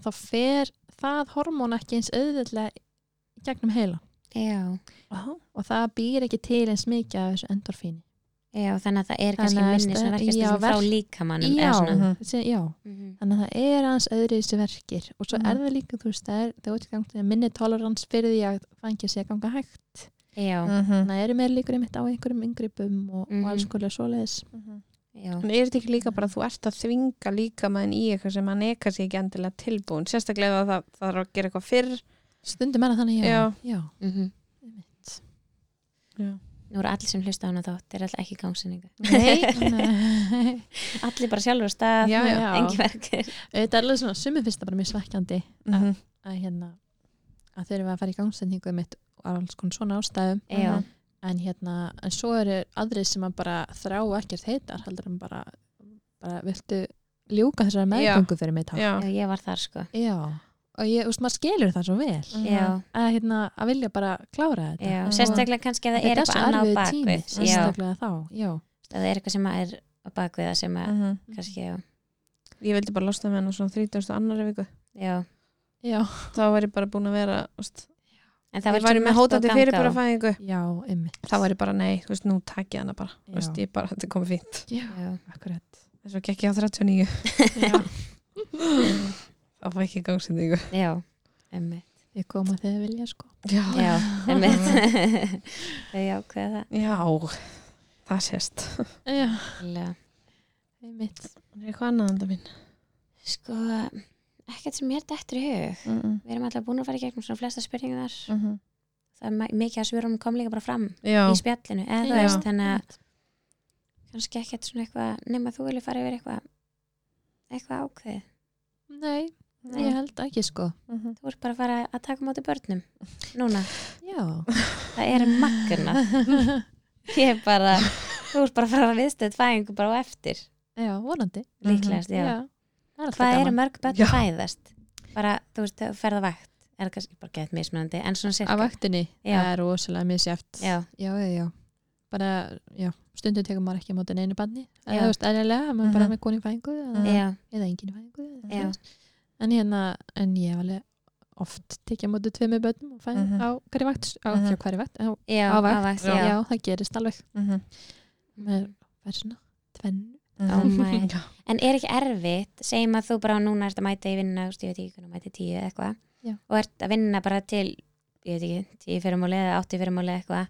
þá fer það hormón ekki eins auðvitað gegnum heila
Já,
Já.
og það býr ekki til eins mikið af þessu endorfíni
já, þannig að það er
Þannig
kannski
að
minni
sta-
svona verkast
já,
sem frá
verk-
líkamannum
já,
eða svona.
Mhm.
þessi- já,
Mhm.
þannig að það er aðeins öðru þessi verkir og svo
Mhm.
er það líka, þú veist, það er það útgangt að minni tolerans fyrir því að fangja sig að ganga hægt,
Já,
Mhm.
þannig að eru meira líkur einmitt á einhverjum yngrippum og,
Mhm.
og alls kolega svoleiðis
Mhm.
já,
En er þetta ekki líka bara að þú ert að þvinga líka maður í eitthvað sem hann er kannski ekki endilega tilbúin sérstaklega ef það, það þarf að gera eitthvað fyrr
stundum er það þannig, já,
Já.
já.
Mhm.
einmitt.
nú eru allir sem hlusta á hana þátt er alltaf ekki gangsinningu
Nei,
Nei.
allir bara sjálfur á stað,
Já,
já.
engi verkir
Þetta er alveg svona, sumið finnst það bara mjög svekkjandi
Mhm.
að hérna að þeir eru að fara í gangsetningu mitt og alls konar svona ástæðum
já,
Mhm.
en hérna, en svo eru aðrið sem að bara þrá ekkert heitar heldur en bara, bara viltu ljúka þessari meðgöngu fyrir mig takk
já.
já, ég var þar sko
já, og ég, þú veist, maður skilur það svo vel
já,
að hérna, að vilja bara klára þetta
já,
Mhm.
sérstaklega kannski að það er
Þetta
eitthvað
svo
annað á
erfiður tími,
bakvið já,
sérstaklega þá, já
að það er eitthvað sem er á bakvið það sem að,
Mhm.
kannski, já,
Ég vildi bara losna með hana svona 30. annari viku
já
já,
þá var ég bara búin að vera úst,
en það
ég
var
væri
ekki
með
margt að
hótandi
ganga á.
fyrir bara fæðingu
já, einmitt
þá var ég bara nei, þú veist, nú takk ég hana bara
Já.
þú veist, ég bara, þetta er komið fínt
já,
já,
akkurat
þess að gekk ég á 39
já.
þá fæ ekki gangsendingu
já, emmi
ég koma þegar þið vilja sko
já.
já, emmi þau ákveða það
já, það sést
já,
Lega.
einmitt
það er eitthvað annað enda mín
sko, ekkert sem mér dettur í hug
mm -mm.
við erum alltaf búin að fara í gegnum svona flesta spurningar það er ma- mikið að svörum kom líka bara fram
já,
í spjallinu, eða þú
Já.
veist þannig að kannski ekkert svona eitthvað nema þú vilja fara yfir eitthvað eitthvað ákveð,
nei, ég held ekki sko
Mhm.
þú ert bara að fara að taka á móti börnum núna,
já
það er magna ég er bara, þú ert bara að fara að viðstöð fæðingu bara á eftir,
Já, vonandi.
líklegast, já,
Það er alltaf
hvað eru
gaman.
mörg börn
Já.
að fæðast bara, þú veist, þau ferða vakt er kannski bara gett mismunandi, en svona
Af
sirka
vaktinni,
Já.
það er rosalega misjæft.
já,
já, já, já. Bara, já, stundum tekur maður ekki á móti neinu banni.
Já.
Eða, þú veist, erlega, maður
Mhm.
bara með koni í fæðingu eða,
já,
eða engin í fæðingu. eða
Já.
svoleiðis. En hérna, en ég hef alveg oft tekið á móti tveimu börnum og fæðin
Mhm.
á hverju vakt, á
Mhm.
hjá hverju vakt, á,
já,
á vakt.
já,
já, það gerist alveg.
Mhm.
Með verðsuna, tvennu.
Oh my.
Mm-hmm. Já.
En er ekki erfitt, segjum að þú bara núna ert að mæta í vinna, þú veist, ég veit ekki hvernig mæti tíu eða eitthvað,
Já.
og ert að vinna bara til, ég veit ekki, tíu fyrirmáli eða átti fyrirmáli eitthvað,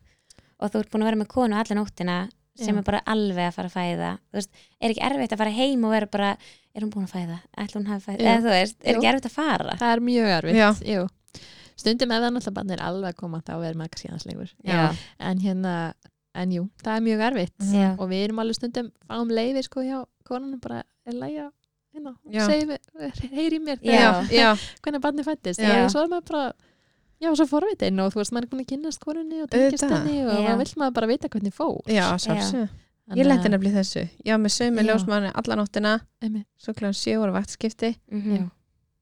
og þú ert búin að vera með konu alla nóttina sem
Já.
er bara alveg að fara að fæða, þú veist, er ekki erfitt að fara heim og vera bara, er hún búin að fæða, ætla hún hafi fæða,
Já.
eða þú veist, er ekki
Jú.
erfitt að fara?
Það er mjög
Já.
erfitt, jú. Stundum ef það náttúrulega bann er alveg að koma þá er maður kannski aðeins lengur. en hérna, en jú, það er mjög erfitt
Já.
og við erum alveg stundum fáum leiði sko hjá konunum bara er lægja hérna,
Já.
segir mér, heyri mér
Já.
þegar
já,
hvernig barni fættist
Já.
og svo er maður bara já, svo forvitin og þú veist, maður er búin að kynnast konunni og tengjast
Auðvitað.
henni og
Já.
maður vill maður bara vita hvernig fó
já sjálfsög ég leti nefnilega í þessu, já með sömu
Já.
ljósmanni alla nóttina,
Einmitt.
svo klæðan 7 ára vaktskipti
Mhm.
Já.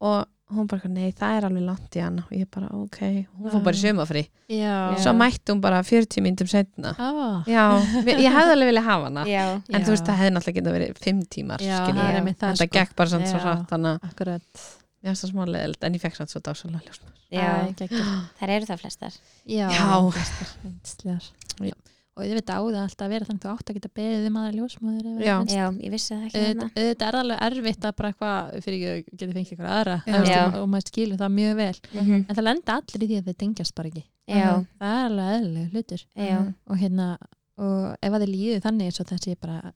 og hún bara, nei það er alveg langt í hana og ég bara, ok, hún fór
Já.
bara í sömafri
já,
svo mætti hún bara 40 myndum setna
ah,
já, vi- ég hefði alveg vilja hafa hana
Já.
en þú veist,
Já.
það hefði náttúrulega getað verið 5 tímar
Já,
skil
það er
ég,
einmitt það,
en það
sko.
gekk bara samt svo
Já.
hratt þannig að
akkurat
ég hefði það smá leðild, en ég fekk samt svo dásalega ljósmann
Já.
Æ, geggjað.
Þær eru það flestar.
já,
Já.
Yndislegar. Já. og ég veit á það alltaf að vera þannig þú átt að geta beðið um aðra ljósmóður ef
Já.
það
Já, ég vissi það ekki hérna.
Auðvitað
þarna.
auðvitað er alveg erfitt að bara eitthvað fyrir ekki að geta fengið eitthvað aðra
Já.
eða þú veist,
Já.
og maður skilur það mjög vel
Mhm.
en það lenda allir í því að þeir tengjast bara ekki
Já,
það er alveg eðlilega hlutur
já,
og hérna, og ef að þið líður þannig eins og það sé bara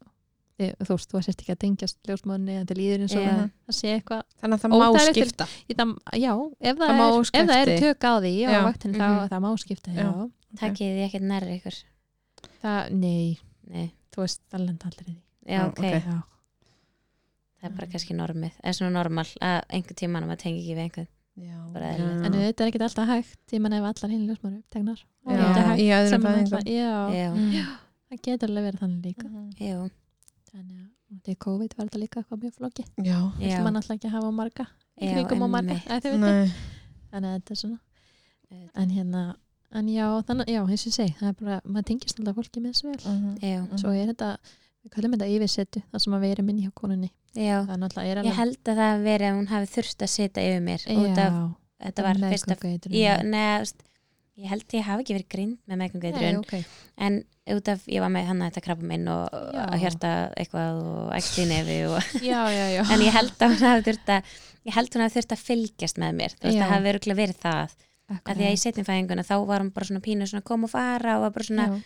þið- þú veist, þú sérst ekki að tengjast ljósmóðinni eða þið líður eins og
Já.
það sé eitthvað
þannig að
Ó,
það má
það er eftir-
skipta
í það, já, ef það,
Það má
er, ef það er
skipti.
tök á því á
Já.
vaktinni
Mhm.
þá það má skipta já.
takkið þið ekkert nærri ykkur.
Það, nei,
Nei,
þú veist, það lenda allir í því
já,
Já,
ok.
ok.
já,
það er bara kannski normið, eða svona normal að einhver tíman að maður tengi ekki við einhvern
já,
Bara
já.
eðlilegt.
en þetta er ekkert alltaf hægt ég menna ef allar hinn ljósmóður upptegnar þá er
Já,
þetta hægt.
í öðrum
sem
fæðingum
er
Mhm.
náttúrulega- já,
já,
Mm.
það getur alveg verið þannig líka
já,
þannig að þetta COVID var þetta líka eitthvað mjög flóki
já,
já,
sem mann alltaf ekki að hafa marga í
Já,
kringum á marga,
einmitt.
að þið veitir
nei
þannig að þetta er svona
Auðvitað.
en hérna, en já, þannig, já, eins og ég segi það er bara, maður tengist alltaf fólki með þessu vel
Mhm.
já,
svo er þetta, við kallum þetta yfirsetu það sem að við erum inn hjá konunni
já
það er náttúrulega er
ég held að það hafi verið að hún hafi þurft að sitja yfir mér út af,
já,
þetta var fyrst af
meðgöngueitrun.
já, neða, þú veist, ég held að ég hafi ekki verið grind með
Nei,
meðgangveitrun
ok.
en út af, ég var með hann að þetta krabba minn og
Já.
að hjarta eitthvað og ekki nefi og,
já, já, já
en ég held að hún hafi þurft að ég held hún hafi þurft að fylgjast með mér þú veist,
Já.
það hafi örugglega verið það að því að í
Akkurat.
setjum fæðinguna þá var hún bara svona pínu svona kom og fara og var bara svona
Já.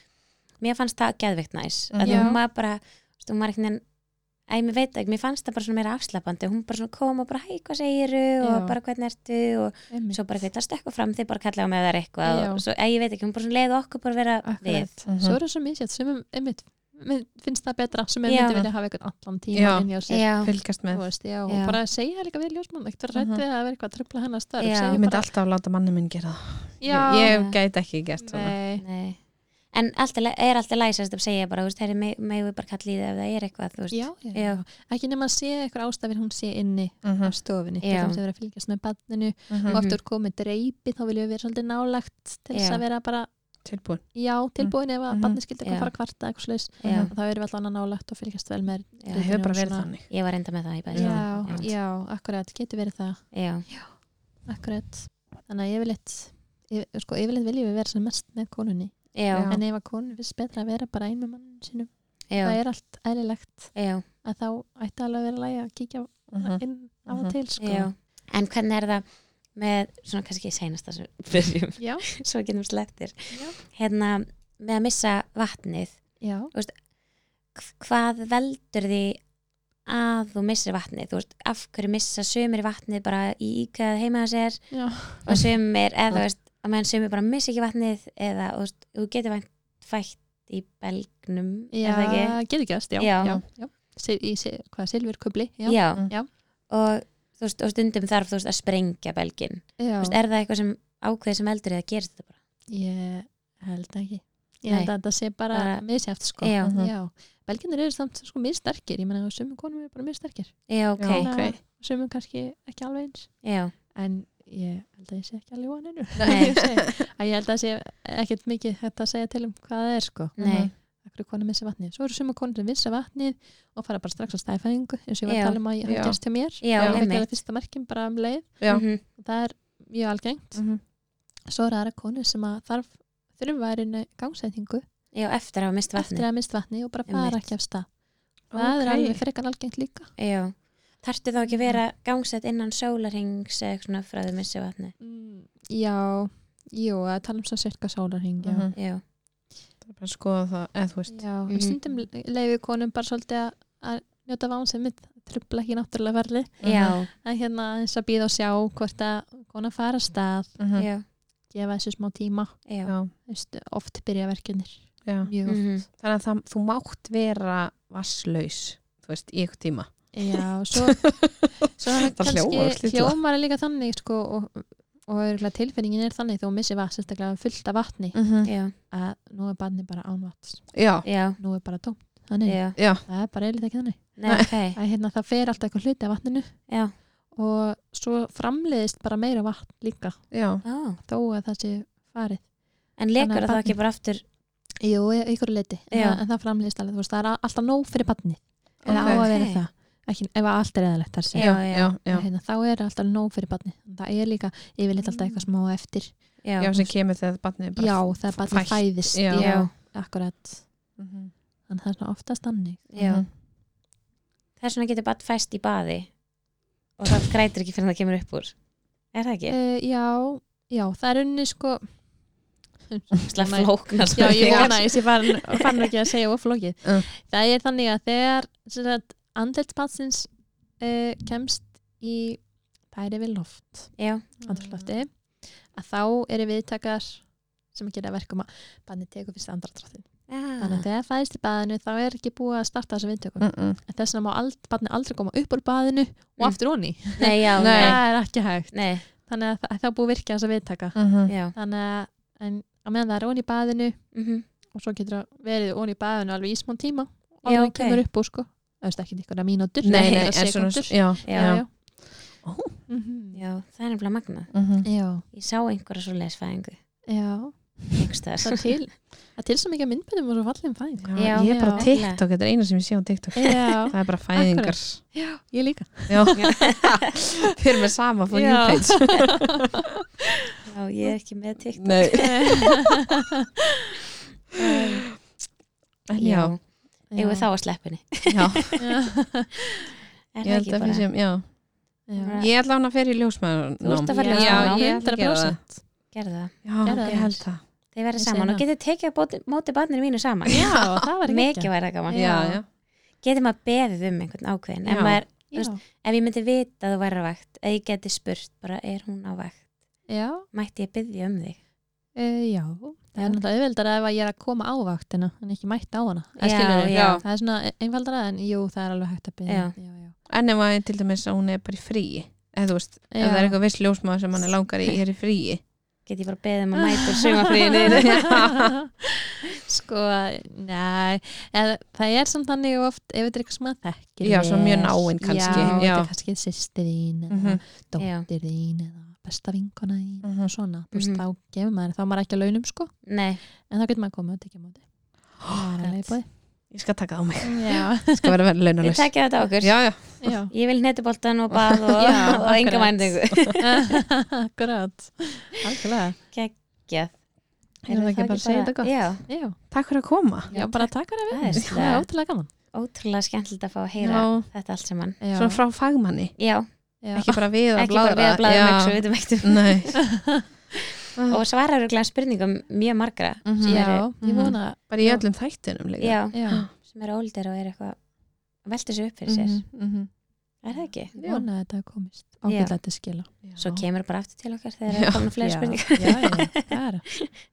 mér fannst það geðveikt næs
Mhm.
að því
Já.
hún var bara, þú veist, hún var einhvern veginn Æ, mér veit ekki, mér fannst það bara svona meira afslapandi hún bara svona kom og bara, hæ, hvað segiru
Já.
og bara hvernig ertu og
einmitt.
svo bara hvitast eitthvað fram, þið bara kallaðu með þær eitthvað
Já.
og svo, æ, ég veit ekki, hún bara svona leiði okkur bara vera
Akkurat.
við
Mhm.
Svo er það svo misjætt, sumum einmitt, mér finnst það betra, sumum
Já.
myndi vilja hafa eitthvað allan tíma
Já.
inn hjá sér.
Já,
fylgjast
Þú
með
Veist, já, og
Já.
bara segja líka við ljósmann ekkert vera rætt
Mhm.
við að það vera eitthvað að tröfla hennar störf
Já.
segja
ég myndi
bara,
alltaf láta manni minn gera það
já,
ég gæti ekki gert svona
nei,
nei En alltaf, er alltaf læsast að segja bara, þú veist, herri, meg- megum við bara kalla í það ef það er eitthvað, þú veist.
já, já.
Já.
ekki nema að sé eitthvað ástafir hún sé inni
Mhm,
af stofinni,
Já.
það er verið að fylgjast með badninu
mhm.
og oft er komið dreipi þá viljum við vera svolítið nálagt til þess
Já.
að vera bara
tilbúin
já, tilbúin ef
Mhm.
að badni skildi
Já.
eitthvað fara að kvarta eitthvað slags,
Já.
þá erum við allan nálagt og fylgjast vel með
Já.
það hefur bara verið
Svona-
þannig
Ég var enda með það í bæði.
já,
Já.
já, akkurat, getur verið það
Já.
akkurat, þannig að yfirleitt yfir, sko, yfirleitt viljum við vera sem mest með konunni,
Já.
Já.
en ef að konun finnst betra að vera bara ein með mannum sínum
Já.
það er allt eðlilegt
Já.
að þá ætti alveg að vera lægi að kíkja
Mhm.
inn á og
Mhm.
til sko.
Já. En hvernig er það með, svona kannski seinasta sem við byrjum,
já,
svo getum sleftir,
Já.
hérna, með að missa vatnið,
já,
h- hvað veldur því að þú missir vatnið, þú veist, af hverju missa sömur vatnið bara í íkað heima að sér
já.
og sömur, eða þú veist, að meðan sömur bara missa ekki vatnið eða, þú veist, þú getur vænt fætt í belgnum, er það ekki?
Já, getur gæst, já.
Já.
já. já. Sil, í, sil, hvað, silfurkubli? Já.
Já.
Mm.
Og, þú veist, og stundum þarf, þú veist, að sprengja belgin.
Já.
Þú veist, e- er það eitthvað sem ákveðið sem veldur eða gerist þetta bara?
Ég held ekki.
Nei.
Ég held að þetta sé bara
Bara-
misjæft, sko.
Já.
Mhm.
já. Belginir eru samt sko missterkir, ég menna að sumum konum eru bara missterkir.
Já, ok.
Já.
Þannig að Sumum kannski ekki alveg eins.
Já.
En ég held að ég sé ekki alveg voninu.
Nei.
ég held að það sé ekkert mikið þetta að segja til um hvað það er, sko.
Nei,
Akkur konum missa vatnið. Svo eru sumum konum sem missa vatnið og fara bara strax á stæðfæðingu, eins og ég var
Já.
að tala um að ég
Já.
hafði gerst hjá mér.
Já,
Ég fekk
einmitt.
alveg fyrsta merkin bara um leið.
Já.
Mhm.
og það er mjög algengt
Mhm.
svo er aðra konu sem að þarf þurfværinu gangsetningu
já, eftir að hafa mist vatni
eftir að mist vatni og bara fara
Einmitt.
ekki af stað það er
Ókei.
alveg frekar algengt líka
Já, þarftu þá ekki að vera gangsett innan sólarhings eða eitthvað svona frá því missi vatni
mm, já, jú, að tala um svo cirka sálarhing já,
Mhm.
Já,
Það er bara að skoða það, eða þú veist
já mm
Mhm.
stundum leiði konum bara svolítið að- að njóta vánsið mitt trubla ekki náttúrulega verli
já,
en hérna eins að býða og sjá hvort að konan fara af stað
Mhm.
já,
gefa þessu smá tíma
já,
Já,
Vist, oft byrja verkefnir
já.
mjög oft
Mhm.
þannig að það, þú mátt vera vasslaus þú veist, í ykkur tíma
Já, svo, svo er
Það
kannski
hljómar
hljómar,
slítla.
er líka þannig sko, og, og örugglega tilfinningin er þannig þú missir vatn, sérstaklega fullt af vatni
-hmm.
já,
að nú er barni bara án vatns
já,
já,
nú er bara tómt, þannig
já
já,
það er bara eilítið ekki þannig
Nei, ok,
að, hérna, það fer alltaf eitthvað hluti af vatninu
já,
og svo framleiðist bara meira vatn líka
já.
ó
þó að það sé farið
En
Þannig
lekur
að
það ekki
barnið-
bara aftur
Jú, í- í ykkur leiti, en,
Já.
það- en það framleiðist alveg þú veist, það er alltaf nóg fyrir barni eða á
Ok.
að vera
Ókei.
það ekki, ef allt er eðalegt þar sé
Já,
já,
já,
já, já.
hérna, þá er alltaf nóg fyrir barni það er líka yfirleitt alltaf eitthvað smá á eftir
já,
sem kemur þegar barnið er bara
já, það er barni
fætt.
fæðist
Já.
já,
akkurat,
Mhm.
þannig það er svona oftast þannig
já Það er svona getur bara fæst í baði og það grætir ekki fyrir það kemur upp úr Er það ekki?
uh, já, já, það er unni sko
Sla
nei.
flókna
já, ég
spurningar.
vona, ég sé farin, farin ekki að segja of flókið
Mm.
það er þannig að þegar sem sagt, andlit barnsins uh, kemst í bæri við loft
Já,
andrúrslofti
Mm.
að þá eru viðtakar sem að gera verkum að barni tekur fyrst andratrátti
Mm.
þannig að
já,
þegar fæðist í baðinu þá er ekki búið að starta þessu viðtökum
Mm -mm.
en þess vegna má ald, barni aldrei koma upp úr baðinu og
Mm.
aftur onni
nei, já, nei
það er ekki hægt
Nei,
þannig að það, það er búið að virka þess að viðtaka
Mhm.
já
þannig að en, á meðan það er onni í baðinu
mhm.
og svo getur það verið onni í baðinu alveg í smá tíma og
Já,
alveg
ok.
kemur upp úr sko það er ekki einhverja mínútur
Nei, nei,
einhverjar
er svona
sekúndur.
já,
já, já.
Ó.
Mhm.
Já, það er nefnilega magna
Mhm.
já,
Ég sá einhverja svo lesfæðingu
já. það
einhverstaðar.
er til það er til svo mikið af myndböndum og svo fallin fæðing
Já,
Já,
ég er bara
já.
á TikTok, þetta er eina sem ég sé á TikTok
já,
það er bara fæðingar
já, ég líka
já, við erum með sama for you
Já.
page
Já, ég er ekki með TikTok.
Nei. En já,
Já, eigum við þá að sleppinni.
já,
Er
ég
það
held
ekki
að
bara?
við séum já.
Já.
ég ætla hann að fyrir ljósmaður
Þú ert að fara í
Já,
já,
ljósmaðurnám.
ég ætla að gera það
100%.
Gerðu það.
já,
Gerðu það.
ég held það
Þeir verða
Ég
saman
segi
og
það.
getið tekið á bóti- móti barninu mínu saman.
Já, það var ekki
Mikið væri það gaman.
já, já,
getur maður beðið um einhvern ákveðin
Já.
ef, maður,
já,
ef ég myndi vita að þú væri á vakt eða ég geti spurt bara er hún á vakt
já,
mætti ég byggja um þig
e, já. það
Já.
er náttúrulega auðveldara ef að ég er að koma á vaktina en ekki mætt á hana
Já,
Eða skilurðu?
já.
það er svona einfaldara en jú, það er alveg hægt að byrja
Já.
Já, já.
en ef að til dæmis að hún er bara í fríi eða þú veist, ef
Já.
það er eitthvað viss ljósmaður sem hann er langar í, er í fríi
get ég bara beðið um að mæta sumafríðinu
sko, nei eða, það er samt þannig oft ef þetta er eitthvað sem maður þekkir
Já, svona mjög
vel.
náin kannski,
já,
já.
þetta er kannski sýstir þín eða
Mhm.
dóttir þín eða besta vinkona þín
Mhm.
og svona, þú veist,
Mhm.
þá gefur maður þá er maður ekki að launum sko,
nei,
en þá getur maður komið að tekja á móti það er alveg í bóði
ég skal taka það á mig,
já,
skal vera verið
við
launalaus
tekja þetta á okkur
já, já,
já
ég vil netuboltan og bað og,
Já,
og enga
akkurat.
mændingu
akkurat, algjörlega
geggjað
Erum við ekki bara að segja þetta gott?
já,
já,
takk fyrir að koma
já, bara takk fyrir að
Það er
við það
slega.
er ótrúlega gaman
ótrúlega skemmtilegt að fá að heyra
já,
þetta allt saman
já,
svona frá fagmanni
já,
já,
ekki bara við að
ekki bara við að bláða mjög svo
bláðra
vitum ekkert um
Nei,
og svarar örugglega spurningum mjög margra
Mhm.
sem
já,
eru,
ég
Mhm.
vona
bara í öllum þættinum líka
já,
já,
sem eru óldir og eru eitthvað velta sér upp fyrir sér,
Mhm, mhm.
er það ekki?
ég vona að þetta komist ágætlega til skila
Já.
svo kemur bara aftur til okkar þegar
Já.
það komin fleiri
Já,
spurningar
já, já, það er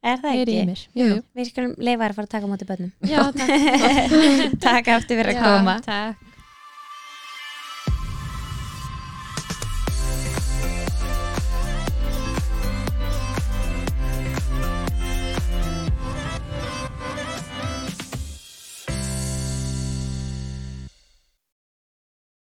er það
er í
ekki?
mér jú, jú.
við skulum leifa þér að fara að taka á móti bönnum
já, takk
takk aftur fyrir að
Já,
koma
takk